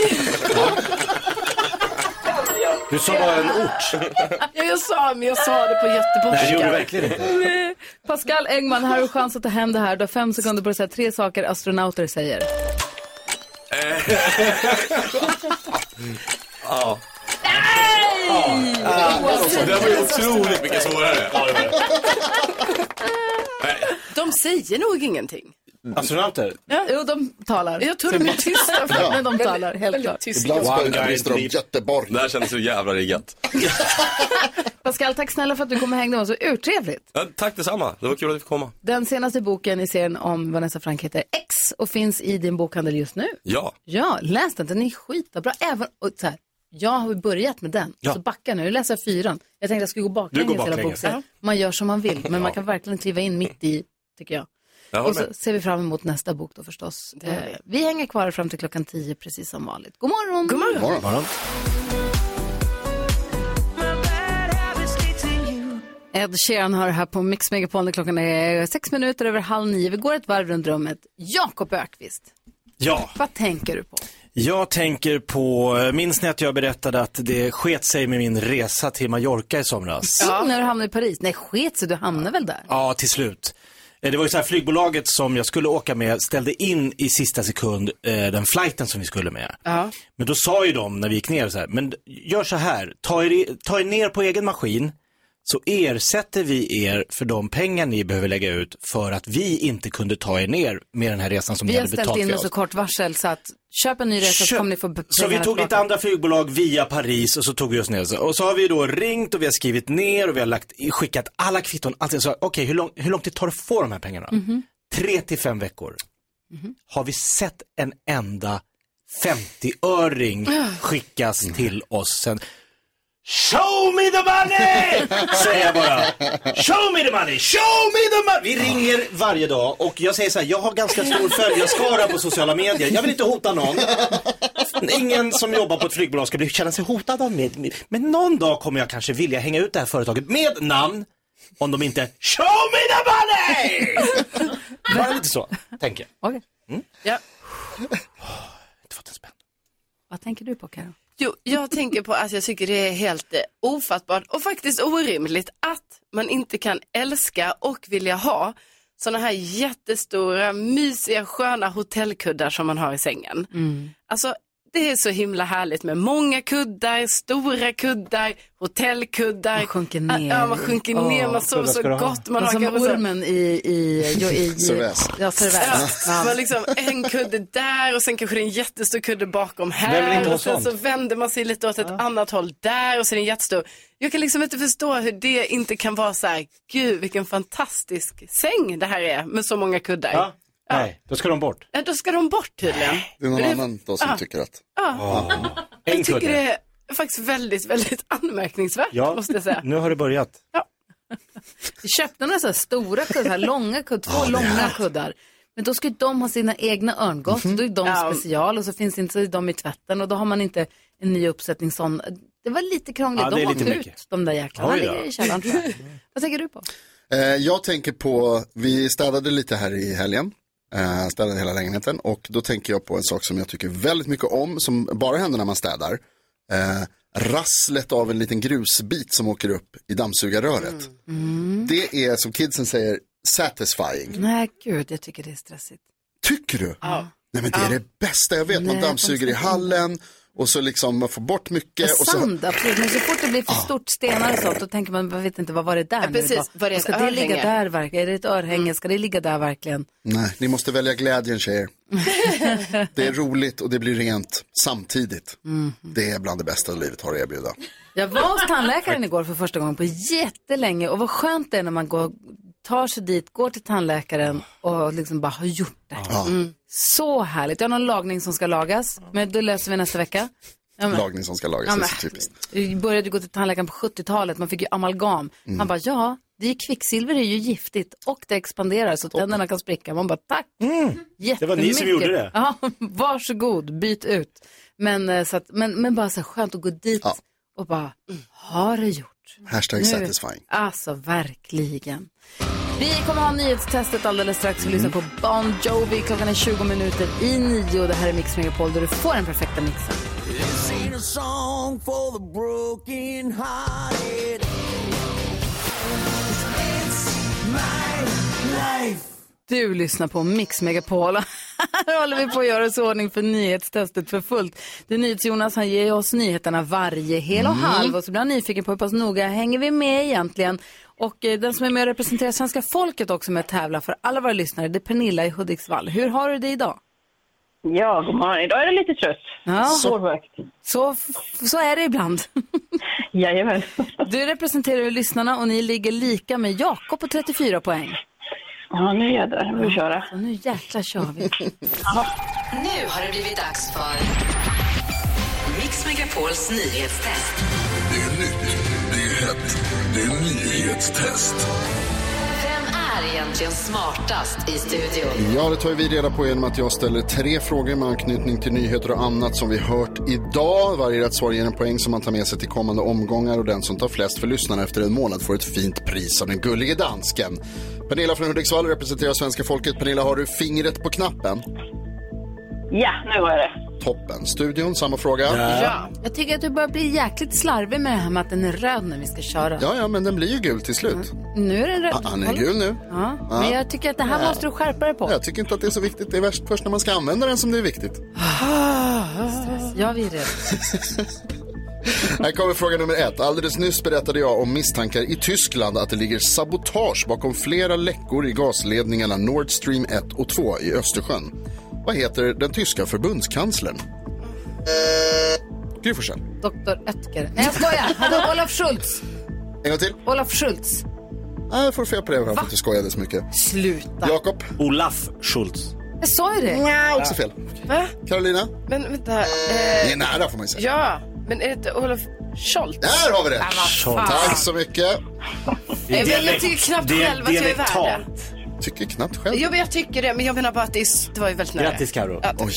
F: Du sa bara en ort.
G: Ja, jag sa, men jag sa det på göteborgska.
F: Nej, det gjorde du verkligen inte.
D: Pascal Engman, här har du chans att ta hem det här. Du har fem sekunder på att säga tre saker astronauter säger.
R: Eh, Ja.
D: Nej!
R: Det var ju otroligt mycket svårare.
G: De säger nog ingenting.
F: Astronauter?
G: Ja. Jo, de talar. Jag tror de är tysta,
R: Ja.
G: men de talar helt klart.
R: Ibland
I: brister de
R: Göteborg. Det här kändes så jävla riggat.
D: Pascal, tack snälla för att du kom och hängde med oss. Det var Urtrevligt.
R: Ja, tack detsamma. Det var kul att vi fick komma.
D: Den senaste boken i serien om Vanessa Frank heter X och finns i din bokhandel just nu.
R: Ja.
D: Ja, läs den. Den är skitbra. Även, och så här, jag har börjat med den.
R: Ja.
D: Så backa nu. Jag läser fyran. Jag tänkte jag skulle gå baklänges.
R: Du går
D: hela
R: baklänges.
D: boken. Man gör som man vill, men man kan verkligen kliva in mitt i, tycker jag.
R: Jag håller
D: och så
R: med.
D: ser vi fram emot nästa bok då förstås.
G: Det gör vi.
D: Eh, Vi hänger kvar fram till klockan tio precis som vanligt. God morgon!
G: God morgon. God
F: morgon.
D: Ed Sheeran har det här på Mix Megapol när klockan är sex minuter över halv nio. Vi går ett varv runt rummet. Jakob Ökvist,
F: Ja.
D: vad tänker du på?
F: Jag tänker på, minns ni att jag berättade att det sket sig med min resa till Mallorca i somras?
D: Mm, När du hamnar i Paris? Nej, sket sig, du hamnar väl där?
F: Ja, till slut. Eh, Det var ju så här, flygbolaget som jag skulle åka med ställde in i sista sekund eh, den flighten som vi skulle med. Men då sa ju de när vi gick ner så här, men gör så här, ta er, i- ta er ner på egen maskin så ersätter vi er för de pengar ni behöver lägga ut för att vi inte kunde ta er ner med den här resan som ni
D: Vi har
F: hade
D: ställt
F: betalt
D: in
F: för
D: oss
F: oss.
D: så kort varsel så att köp en ny resa så
F: Köp.
D: kommer ni få b-
F: Så vi
D: pengarna
F: tog lite
D: tillbaka.
F: andra flygbolag via Paris och så tog vi oss ner. Och så har vi då ringt och vi har skrivit ner och vi har lagt, skickat alla kvitton. Allting. Så, okej, hur, lång, hur lång tid tar det att få de här pengarna?
D: Mhm.
F: Tre till fem veckor. Har vi sett en enda 50-öring skickas till oss sen? Show me the money! Säger jag bara. Show me the money! Show me the money! Vi ringer varje dag och jag säger så här, jag har ganska stor följarskara på sociala medier. Jag vill inte hota någon. Ingen som jobbar på ett flygbolag ska bli, känna sig hotad av mig. Men någon dag kommer jag kanske vilja hänga ut det här företaget med namn om de inte show me the money! Bara lite så, tänker jag.
D: Okej.
F: Mm.
G: Ja.
D: Vad tänker du på Karo?
G: Jo, jag tänker på att jag tycker det är helt eh, ofattbart och faktiskt orimligt att man inte kan älska och vilja ha sådana här jättestora, mysiga, sköna hotellkuddar som man har i sängen.
D: Mm.
G: Alltså, det är så himla härligt med många kuddar, stora kuddar, hotellkuddar. Man
D: sjunker ner.
G: Ja, man sjunker ner, man sover så gott. Man
D: Man som
G: kanske så-
D: ormen i... i, jo, i
G: Cervez.
D: Ja, cervez.
G: Ja, man liksom en kudde där och sen kanske det är en jättestor kudde bakom
D: Vem vill inte
G: här.
D: ha
G: Och sen så
D: sånt?
G: vänder man sig lite åt ett annat håll där och så är det en jättestor. Jag kan liksom inte förstå hur det inte kan vara så här, gud vilken fantastisk säng det här är med så många kuddar. Ja.
F: Nej, då ska de bort.
G: Då ska de bort tydligen.
I: Det är någon
G: Men
I: annan då som
D: Ah.
G: ja.
I: tycker att...
G: Ja.
F: En
G: Jag tycker
F: kudde.
G: det är faktiskt väldigt, väldigt anmärkningsvärt
F: Ja,
G: måste jag säga.
F: nu har det börjat.
D: Vi köpte några så här stora kuddar, så här långa kuddar, två långa kuddar. Men då ska ju de ha sina egna örngott, då är de special och så finns inte så är de i tvätten och då har man inte en ny uppsättning sån. Det var lite krångligt,
I: Ja, det
D: de
I: är
D: har
I: lite
D: inte
I: mycket.
D: ut de där jäklarna,
I: Oj då.
D: ligger i källaren tror jag. Vad tänker du på?
I: Eh, jag tänker på, vi städade lite här i helgen. Eh, städade hela lägenheten och då tänker jag på en sak som jag tycker väldigt mycket om, som bara händer när man städar. Eh, rasslet av en liten grusbit som åker upp i dammsugarröret. Det är som kidsen säger, satisfying.
D: Nej, gud, jag tycker det är stressigt.
I: Tycker du? Nej men det är det bästa jag vet, man
D: Nej,
I: dammsuger i hallen och så liksom man får bort mycket.
D: Och
I: Och så,
D: sand, absolut. Men så fort det blir för stort, stenar och sånt, då tänker man, man vet inte, vad var det där
G: Ja, precis.
D: nu?
G: Var det
D: Och
G: ett
D: Ska det ligga
G: örhänge? Mm.
D: där verkligen? Är det ett örhänge? Ska det ligga där verkligen?
I: nej, ni måste välja glädjen tjejer. Det är roligt och det blir rent samtidigt.
D: Mhm.
I: Det är bland det bästa livet har att erbjuda.
D: Jag var hos tandläkaren igår för första gången på jättelänge och vad skönt det är när man går, tar sig dit, går till tandläkaren och liksom bara har gjort det. Mm. Så härligt. Jag har någon lagning som ska lagas, men det löser vi nästa vecka. Ja, men-
I: Lagning som ska lagas,
D: Ja,
I: det är
D: men-
I: så typiskt.
D: Vi började gå till tandläkaren på 70-talet, man fick ju amalgam.
I: Mm.
D: Han bara, ja, det är ju kvicksilver det är ju giftigt och Mm. det expanderar så tänderna kan spricka. Man bara, tack!
F: Det var ni som gjorde det.
D: Ja, varsågod, byt ut. Men, eh, så att, men, men bara så här skönt att gå dit och bara, ha det gjort. gjort.
I: Hashtag
D: Nu-
I: satisfying.
D: Alltså verkligen. Vi kommer ha nyhetstestet alldeles strax. Vi lyssnar på Bon Jovi. Klockan är 20 minuter i nio. Det här är Mix Megapol där du får den perfekta mixen.
T: This ain't a song for the broken hearted. It's my life.
D: Du lyssnar på Mix Megapol. Här håller vi på att göra oss i ordning för nyhetstestet för fullt. Det är NyhetsJonas, han ger oss nyheterna varje hel och
J: Mm.
D: halv. Och så blir han nyfiken på hur pass noga hänger vi med egentligen. Och eh, den som är med och representerar svenska folket också med att tävla för alla våra lyssnare, det är Pernilla i Hudiksvall. Hur har du det idag?
U: Ja, god morgon. Idag är det lite trött.
D: Ja.
U: Sovvakt.
D: Så, så är det ibland.
U: Jajamän.
D: Du representerar ju lyssnarna och ni ligger lika med Jakob på 34 poäng.
U: Ja, nu jädrar. Nu kör det.
D: Så nu jäklar kör vi.
V: Nu har det blivit dags för Mix Megapols nyhetstest.
W: Det är nytt, det är hett, det är nyhetstest.
V: Vem är egentligen smartast i studion?
I: Ja, det tar ju vi reda på genom att jag ställer tre frågor med anknytning till nyheter och annat som vi hört idag. Varje rätt svar ger en poäng som man tar med sig till kommande omgångar och den som tar flest för lyssnarna efter en månad får ett fint pris av den gullige dansken. Pernilla från Hudiksvall representerar svenska folket. Pernilla, har du fingret på knappen?
U: Ja, nu har jag det.
I: Toppen. Studion, samma fråga.
D: Ja. Jag tycker att du börjar bli jäkligt slarvig med det här med att den är röd när vi ska köra.
I: Ja, ja, men den blir ju gul till slut.
D: Nu är den röd.
I: Ah, Han är gul nu.
D: Ja,
I: Ja.
D: men jag tycker att det här
I: Nej.
D: måste du skärpa dig på.
I: Jag tycker inte att det är så viktigt. Det är värst först när man ska använda den som det är viktigt.
D: Stress. Jag är rädd.
I: Här kommer fråga nummer ett. Alldeles nyss berättade jag om misstankar i Tyskland att det ligger sabotage bakom flera läckor i gasledningarna Nord Stream 1 och 2 i Östersjön. Vad heter den tyska förbundskanslern? Gry Forssell.
D: Doktor Ötker. Nej, jag skojar. Hade Olaf Schultz.
I: En gång till.
D: Olaf Schultz.
I: Nej, jag får fel på det. Jag för att du skojade så mycket.
D: Sluta.
I: Jakob. Olaf Schultz.
D: Jag sa ju det.
G: Nej.
I: Också fel.
G: Va?
I: Carolina?
G: Men vänta. Eh,
I: Ni är nära får man ju säga.
G: Ja, men är det inte Olof Scholz?
I: Där har vi det!
G: Ja, vad fan.
I: Tack så mycket.
G: Det är Jag- jag tycker knappt dialekt- själv att jag är värd det. dialektalt.
I: Tycker knappt själv.
G: Jo, men jag tycker det. Men jag menar bara att det, är, det var ju väldigt nära. Ja,
I: Oj.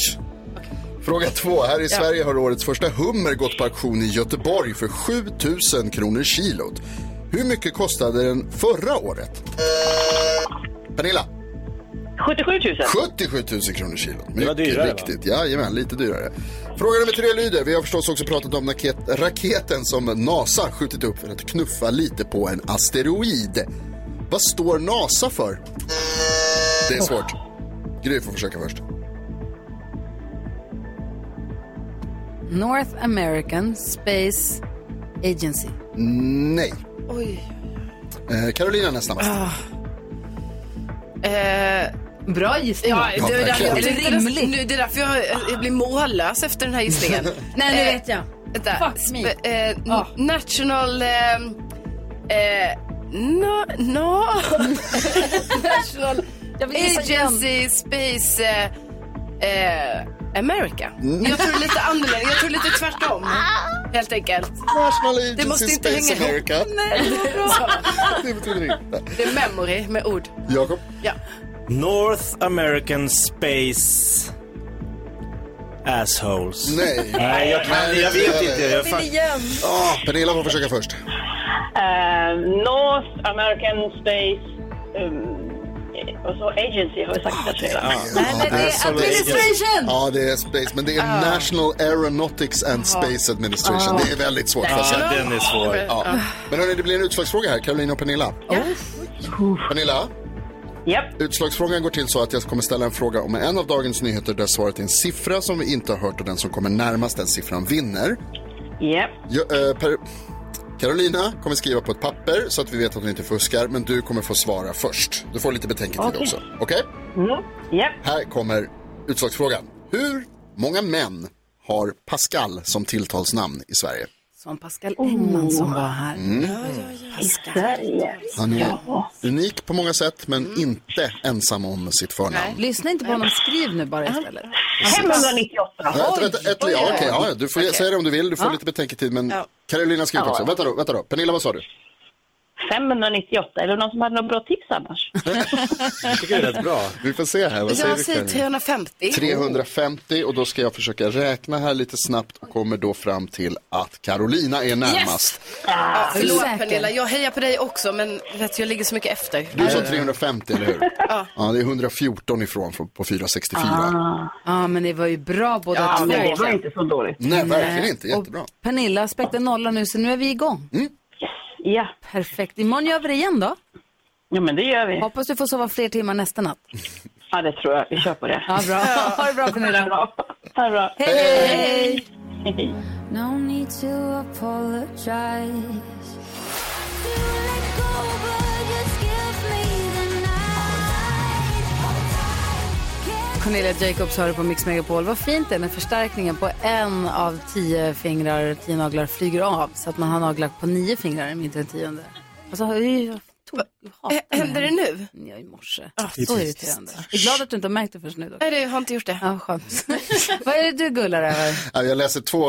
I: Fråga två. Här i
G: Ja.
I: Sverige har årets första hummer gått på auktion i Göteborg för 7 000 kronor kilot. Hur mycket kostade den förra året? Pernilla?
U: 77 000.
I: 77 000 kronor kilot.
U: Det var
I: Mycket
U: dyrare, va?
I: riktigt. Jajamän, lite dyrare. Fråga nummer tre lyder. Vi har förstås också pratat om raket- raketen som NASA skjutit upp för att knuffa lite på en asteroid. Vad står NASA för? Det är svårt. Gry får försöka först.
D: North American Space Agency.
I: Nej.
G: Oj.
I: Eh, Carolina nästan.
G: Ah,
D: Bra gissning.
G: Eh, Ja,
I: Ja,
G: det, det,
I: verkligen.
G: jag tänkte nästan-
D: Rimligt.
G: Nu, det är därför jag, eh, jag blir mållös efter den här gissningen. Eh,
D: Nej, nu vet jag.
G: Vänta.
D: Fuck me.
G: Sp- eh, n- National... Eh, eh, no, no. National Agency Space eh, eh, America. Jag tror det är lite annorlunda. Jag tror lite tvärtom. Helt enkelt.
I: National
G: det måste
I: Agency
G: inte
I: Space
G: hänga ihop.
I: America.
G: Nej, det är bra.
I: Det betyder inte.
G: Det är memory med ord.
I: Jakob?
G: Ja.
F: North American Space Assholes.
I: Nej.
F: Nej, jag, kan, jag vet inte. Jag fan-
I: Ah, Pernilla får försöka först.
U: Eh, North American Space... Um, och så Agency har jag sagt att det är.
I: Ja,
U: det är
I: Solar
U: administration!
I: Agency. Ja, det är space. Men det är
U: Ah.
I: National Aeronautics and
U: Ja.
I: Space Administration.
U: Ah.
I: Det är väldigt svårt.
U: Ja,
I: får jag säga.
U: den är svår.
I: Ja. Men hörni, det blir en utslagsfråga här. Carolina och Pernilla. Pernilla? Utslagsfrågan går till så att jag kommer ställa en fråga om en av dagens nyheter där svaret är en siffra som vi inte har hört och den som kommer närmast den siffran vinner.
U: Japp.
I: Ja, eh, per... Carolina kommer skriva på ett papper så att vi vet att hon inte fuskar, men du kommer få svara först. Du får lite betänketid
U: Okej. Mm.
I: också. Okej? Här kommer utslagsfrågan. Hur många män har Pascal som tilltalsnamn i Sverige?
D: Som Pascal Engman som var här.
I: Mm.
D: Sverige.
I: Han är unik på många sätt, men
U: Mm.
I: inte ensam om sitt förnamn.
D: Lyssna inte på honom, skriv nu bara istället.
U: 598.
I: Äh, Vänta, vänta, ett, ja,
U: Oj.
I: okej, ja, du får
U: Okej.
I: säga det om du vill, du får
U: Ja.
I: lite betänketid. Men
U: Ja.
I: Carolina skriver
U: Ja,
I: också.
U: ja.
I: Vänta då, vänta då. Pernilla, vad sa du?
U: 598. Är det någon som hade något bra tips annars?
I: Jag
U: tycker
I: det är rätt bra. Vi får se här. Vad säger
G: Jag
I: Victor?
G: säger 350.
I: 350 och då ska jag försöka räkna här lite snabbt och kommer då fram till att Carolina är närmast.
G: Ja, förlåt
I: Säker.
G: Pernilla, jag hejar på dig också men vet du, jag ligger så mycket efter.
I: Du
U: Eh.
I: sa 350, eller hur?
G: Ja.
I: Ja, det är 114 ifrån från- på 464.
D: Ja, ah, men det var ju bra båda
I: Ja,
D: två.
I: men det var inte så dåligt. Nej, verkligen inte. Jättebra. Mm.
D: Och Pernilla, aspekten nollar nu, så nu är vi igång.
U: Ja.
D: Perfekt. Imorgon gör vi det igen då.
U: Ja, men det gör vi.
D: Hoppas du får sova fler timmar nästa natt.
U: Ja, det tror jag. Vi kör på det.
D: Ja, bra. Ha det bra Pernilla.
U: Ha det bra.
D: Hej!
U: Hej.
S: No need to apologize.
D: Cornelia Jacobs hör på Mix Megapol. Vad fint det är när förstärkningen på en av tio fingrar, tio naglar flyger av. Så att man har naglar på nio fingrar, men inte en tionde. Alltså, jag tog, Eh,
G: Händer det nu?
D: Ja, i morse. Så irriterande. Jag Ah, är glad att du inte har märkt det först nu dock.
G: Nej, det har inte gjort det.
D: Ja, skönt. Vad är det du gullar över?
I: Ja, Jag läser två,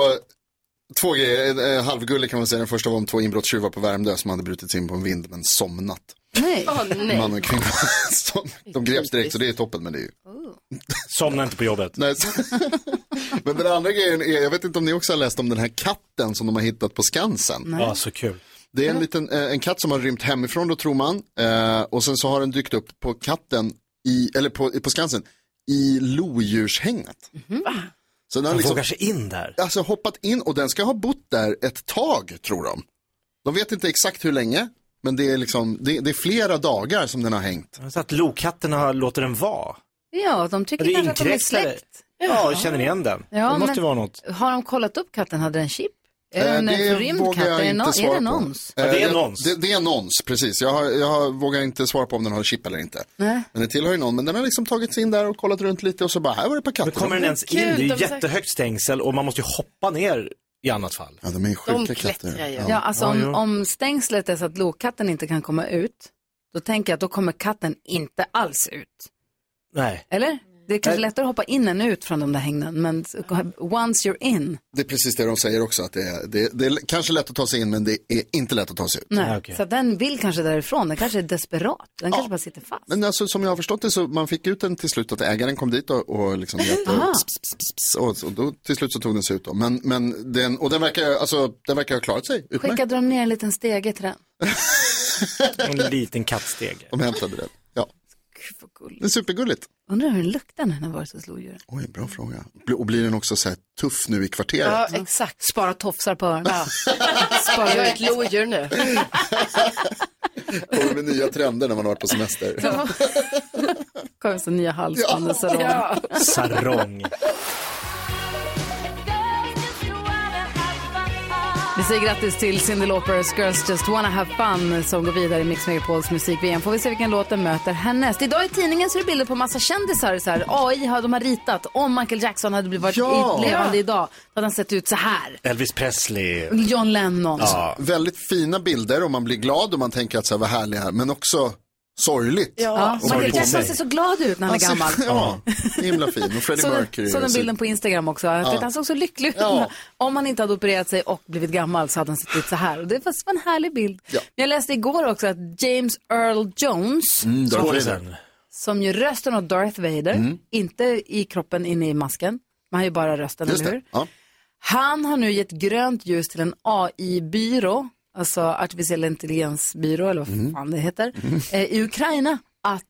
I: två grejer, Eh, halvgullig kan man säga. Den första var om två inbrottstjuvar på Värmdö som hade brutit sig in på en vind men somnat.
D: Nej.
G: nej.
I: Man och kvinna. Som, de greps direkt så det är toppen men det är ju.
F: Somna inte på jobbet.
I: Nej. så- Men den andra grejen är, jag vet inte om ni också har läst om den här katten som de har hittat på Skansen.
F: Nej. Ja, så kul.
I: Det är en, liten, eh, en katt som har rymt hemifrån då tror man. Eh, och sen så har den dykt upp på katten, i, eller på, på Skansen, i lodjurshägnet. Så den liksom-
F: Den vågar sig in där.
I: Alltså hoppat in och den ska ha bott där ett tag tror de. De vet inte exakt hur länge, men det är, liksom, det, det är flera dagar som den har hängt.
F: Så att lokatterna låter den vara.
D: Ja, de tycker
F: Det är
D: kanske att de är
F: inkräktare.
D: släkt.
F: Ja, jag känner igen den.
D: Ja,
F: det måste
D: men-
F: ju vara något.
D: Har de kollat upp katten? Hade den chip? Är
I: Eh,
D: den en
I: det
D: förrymd
I: vågar
D: katt?
I: jag
D: Är det,
I: inte
D: no- är
I: svara
D: det
I: på.
D: nons?
I: Eh,
F: det är
I: jag-
F: nons.
I: Det, det är nons, precis. Jag, har, jag har, vågar inte svara på om den har chip eller inte.
D: Nej.
I: Men det tillhör ju någon, men den har liksom tagit sig in där och kollat runt lite och så bara, här var det ett par katter.
F: Kommer den ens in? Det är ju jättehögt stängsel och man måste ju hoppa ner i annat fall.
I: Ja, de är sjuka De klättrar katter. ju.
D: Ja, alltså om, om stängslet är så att lokatten inte kan komma ut, då tänker jag att då kommer katten inte alls ut.
F: Nej.
D: Eller? Det är kanske
I: Nej.
D: lättare att hoppa in än ut från de där hängnen, men once you're in.
I: Det är precis det de säger också, att det är, det, det är kanske lätt att ta sig in, men det är inte lätt att ta sig ut.
D: Nej. Så att den vill kanske därifrån, den kanske är desperat, den kanske bara sitter fast.
I: Men alltså, som jag har förstått det så man fick ut den till slut att ägaren kom dit och, och liksom hjälpte.
D: Aha.
I: Och, pss, pss, pss, pss, och, och då, till slut så tog den sig ut. Då. Men, men den, och den verkar, alltså, den verkar ha klarat sig utmärkt.
D: Skickade de ner en liten stege till den?
F: En liten kattsteg.
I: De hämtade den. Ja. Det är supergulligt.
D: Undrar hur den luktar när den har varit hos lodjuren.
I: Oj, bra fråga. Bli- Och blir den också så här tuff nu i kvarteret?
G: Ja, exakt.
D: Spara tofsar på öronen.
G: Spara jag är ett lodjur nu.
I: Kommer med nya trender när man har varit på semester.
D: Kommer så nya halsband och sarong.
I: Ja.
F: Sarong.
D: Vi säger grattis till Cyndi Laupers Girls Just Wanna Have Fun som går vidare i Mix Megapols musik-VM. Får vi se vilken låt den möter härnäst. Idag i tidningen så är det bilder på massa kändisar. Så här. AI har de har ritat. Om Michael Jackson hade blivit varit
I: Ja.
D: levande idag, då hade han sett ut så här.
F: Elvis Presley.
D: John Lennon.
I: Alltså, väldigt fina bilder och man blir glad och man tänker att så här, vad härlig här, men också sorgligt.
D: Ja,
I: Och
D: Michael
I: sorgligt.
D: Jackson ser så glad ut när han
I: Alltså,
D: är gammal.
I: Ja, himla fin. Och Freddie
D: Så,
I: Mercury.
D: så den
I: så-
D: bilden på Instagram också. Jag tyckte Han såg så lycklig ut. Om han inte hade opererat sig och blivit gammal så hade han sett ut så här. Och det var var en härlig bild. Men jag läste igår också att James Earl Jones,
A: Mm, Darth
D: som-
A: Vader.
D: som ju rösten av Darth Vader,
A: Mm.
D: inte i kroppen inne i masken, man har ju bara rösten,
A: Just
D: eller
A: det.
D: hur? Han har nu gett grönt ljus till en AI-byrå, alltså artificiell intelligensbyrå, eller vad
A: Mm.
D: fan det heter, eh, i Ukraina, att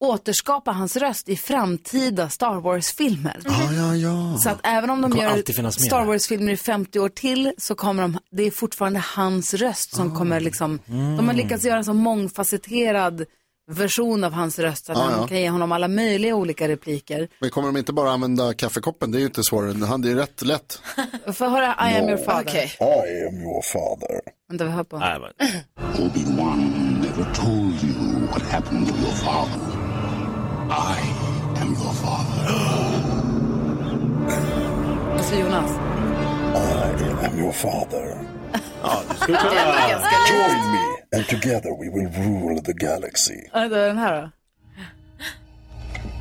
D: återskapa hans röst i framtida Star Wars-filmer.
I: Ja, ja, ja.
D: Så att även om de
F: kommer
D: gör
F: alltid finnas med
D: Star
F: där.
D: Wars-filmer i 50 år till så kommer de, det är fortfarande hans röst som kommer liksom, de har lyckats göra en så mångfacetterad version av hans röst så att
I: Ja,
D: man
I: ja.
D: kan ge honom alla möjliga olika repliker.
I: Men kommer de inte bara använda kaffekoppen? Det är ju inte svårare. Han, det är rätt lätt.
D: Får jag höra I am your father?
I: I am your father.
D: Vänta, vi hör på.
K: Obi-Wan never told you what happened to your father. I am your father.
D: Alltså Jonas.
K: I am your father.
D: Join
K: me, and together we will rule the galaxy.
D: Vänta, den här då?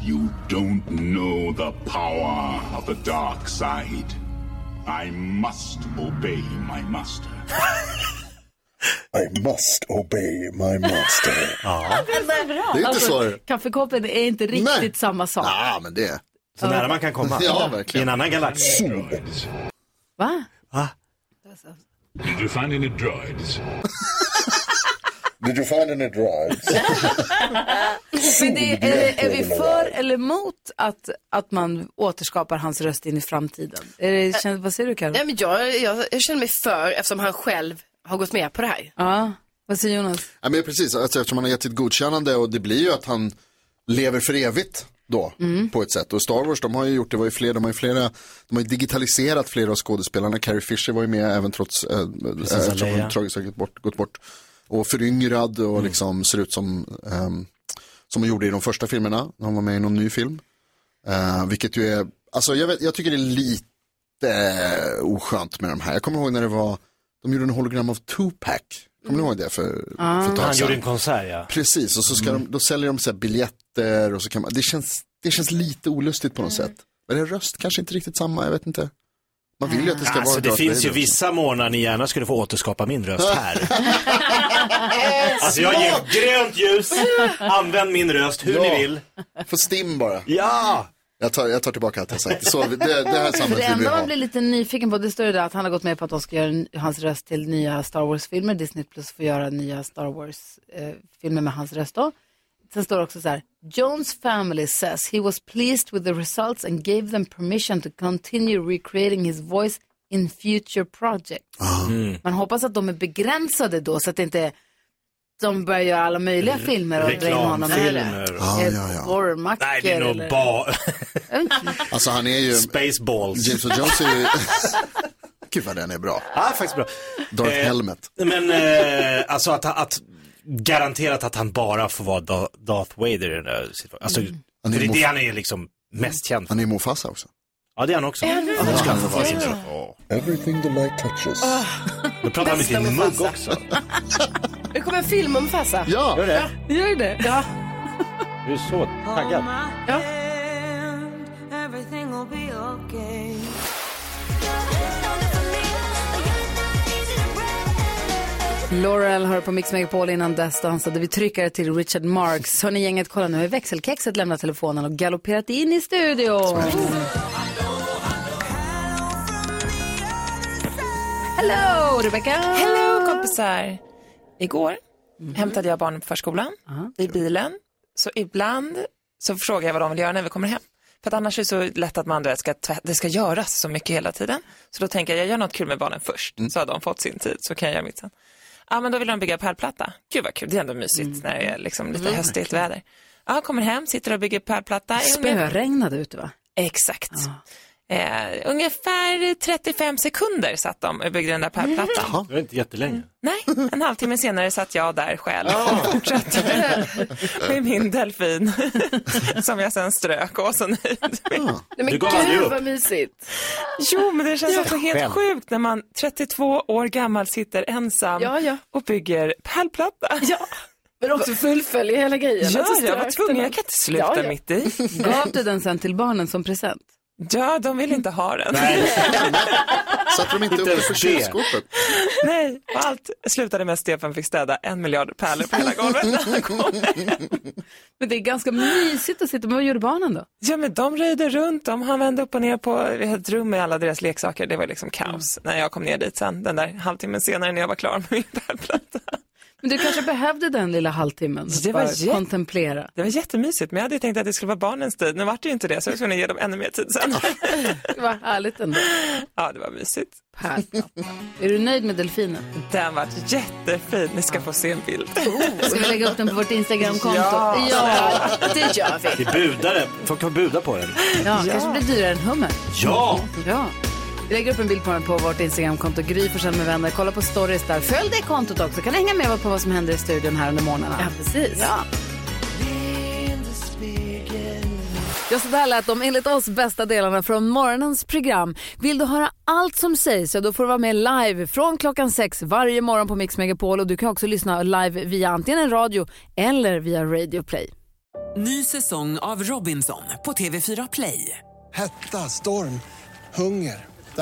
K: You don't know the power of the dark side. I must obey my master. I must obey my master.
D: Det är så bra.
I: Det är inte
D: alltså,
I: så-
D: Kaffekoppen är inte riktigt
I: Nej.
D: samma sak.
I: Ja, men det.
F: Så nära man kan komma.
I: Ja, verkligen.
F: I en annan galax.
D: Va?
K: Did you find any droids? Did you find any droids?
D: Men det, är, det- är vi för eller emot att, att man återskapar hans röst in i framtiden? Är det, känns, vad säger du Karo?
G: Nej, men jag, jag, jag känner mig för eftersom han själv har gått med på det här.
D: Ja, vad säger Jonas?
I: Ja, men precis, alltså, eftersom han har gett sitt godkännande och det blir ju att han lever för evigt då
K: Mm.
I: på ett sätt. Och Star Wars, de har ju gjort det, var ju fler, de har ju flera, de har ju digitaliserat flera av skådespelarna. Carrie Fisher var ju med även trots, eh,
F: Prinsessa
I: eftersom hon
F: Leia.
I: tragiskt har gått bort, gått bort. Och föryngrad och liksom ser ut som, ehm, som hon gjorde i de första filmerna. Hon var med i någon ny film. Eh, vilket ju är, alltså jag, vet, jag tycker det är lite eh, oskönt med de här. Jag kommer ihåg när det var, de gjorde en hologram av Tupac. Kommer ni ihåg det för, för ett tag
F: Ah. Han
I: sedan?
F: gjorde en konsert ja.
I: Precis, och så ska de, då säljer de så här biljetter och så kan man, det känns, det känns lite olustigt på något
F: Mm.
I: sätt. Men det är röst kanske inte riktigt samma, jag vet inte. Man vill ju att det ska
F: Alltså
I: vara
F: det
I: Darth
F: finns ju
I: Vader.
F: vissa morgnar ni gärna skulle få återskapa min röst här. Alltså jag ger grönt ljus, använd min röst hur
I: Ja.
F: ni vill.
I: För stim bara.
F: Ja!
I: Jag tar, jag tar tillbaka allt jag sagt. Så, vi- det, det här
D: För det
I: samhället vill vi
D: enda man
I: ha.
D: blir lite nyfiken på, det står ju där att han har gått med på att de ska göra en- hans röst till nya Star Wars-filmer. Disney Plus får göra nya Star Wars-filmer med hans röst då. Sen står det också så här, Jones family says he was pleased with the results and gave them permission to continue recreating his voice in future projects.
I: Ah.
F: Mm.
D: Man hoppas att de är begränsade då så att det inte är- de börjar göra alla möjliga filmer och dra in honom.
F: Mm. Reklamfilmer.
I: Ja, ja, ja.
D: Porrmackor
F: Nej, det är nog
D: eller-
F: bara...
I: Alltså han är ju...
F: Spaceballs.
I: James Earl Jones är ju... Gud vad den är bra.
F: Ja, faktiskt bra.
I: Darth
F: Eh,
I: Helmet.
F: Men eh, alltså att, att garanterat att han bara får vara Da- Darth Vader i den här situationen. Alltså,
I: Han är
F: för det är
I: Mof-
F: det han är liksom mest känd för.
I: Han är Mufasa också.
F: Ja, det är han också. Ja, det ska han få vara i sin roll.
K: Everything the light touches.
F: Då pratar han med
G: Bästa
F: sin mugg
G: Mufasa.
F: också.
G: Det kommer en film om Fassa.
I: Ja.
F: Gör det?
D: Gör det? Ja.
F: Du är så taggad.
D: Ja.
T: Everything will be okay.
D: Laurel hör på Mix Megapol innan dess dansade vi tryckare till Richard Marx. Hörni gänget, kolla nu har växelkexet lämnat telefonen och galopperat in i studion. Hello Rebecca!
X: Hello kompisar! Igår hämtade jag barnen på förskolan, i bilen. Så ibland så frågar jag vad de vill göra när vi kommer hem. För att annars är det så lätt att man, du vet, ska tvä- det ska göras så mycket hela tiden. Så då tänker jag, jag gör något kul med barnen först, så har de fått sin tid, så kan jag göra mitt sen. Ja, men då vill de bygga pärlplatta. Gud vad kul, det är ändå mysigt när det är liksom lite
D: Mm,
X: höstigt väder. Ja, kommer hem, sitter och bygger pärlplatta.
D: Spöregnade ute va?
X: Exakt. Eh, ungefär 35 sekunder satt de och byggde den där
G: Mm.
X: pärlplattan.
F: Det var inte jättelänge.
X: Nej, en halvtimme senare satt jag där själv och fortsatte med min delfin som jag sen strök och var så nöjd med.
G: Nej, men gud vad mysigt.
X: Jo, men det känns
G: Ja.
X: också helt
G: Själv.
X: sjukt när man 32 år gammal sitter ensam och bygger pärlplatta. Ja.
G: Men också fullfölja hela grejen.
X: Ja,
G: Alltså,
X: jag var
G: strök
X: tvungen,
G: den.
X: jag kan inte sluta
G: Ja, ja.
X: mitt i.
D: Gav du den sen till barnen som present?
X: Ja, de vill inte ha den.
I: Satte de inte upp det på kylskåpet?
X: Nej, och allt slutade med att Stefan fick städa en miljard pärlor på hela golvet när han kom
D: Men det är ganska mysigt att sitta, men vad gjorde barnen då?
X: Ja, men de röjde runt, de han vände upp och ner på vi hade ett rum med alla deras leksaker. Det var liksom kaos när jag kom ner dit sen, den där halvtimmen senare när jag var klar med min pärlplatta.
D: Men du kanske behövde den lilla halvtimmen
X: Det var
D: för att
X: jätte-
D: kontemplera.
X: Det var jättemysigt, men jag hade ju tänkt att det skulle vara barnens tid. Nu vart det ju inte det, så jag var tvungen att ge dem ännu mer tid sen.
D: Vad härligt ändå.
X: Ja, det var mysigt.
D: Är du nöjd med delfinen?
X: Den vart jättefin, ni ska få se en bild.
D: Ska vi lägga upp den på vårt Instagramkonto?
X: Ja.
D: ja, det gör vi.
F: Det är budare. Folk kan buda på den.
D: Ja, kanske blir dyrare än hummer.
F: Ja!
D: Ja. Vi lägger upp en bild på den på vårt Instagramkonto, Gry Forssell med vänner. Kolla på stories där. Följ det kontot också. Kan hänga med på vad som händer i studion här under morgnarna. Ja, precis. Ja. Ja, så där lät de enligt oss bästa delarna från morgonens program. Vill du höra allt som sägs, ja, då får du vara med live från klockan sex varje morgon på Mix Megapol. Och du kan också lyssna live via antingen en radio eller via Radio Play.
A: Ny säsong av Robinson på TV4 Play.
B: Hetta, storm, hunger. Det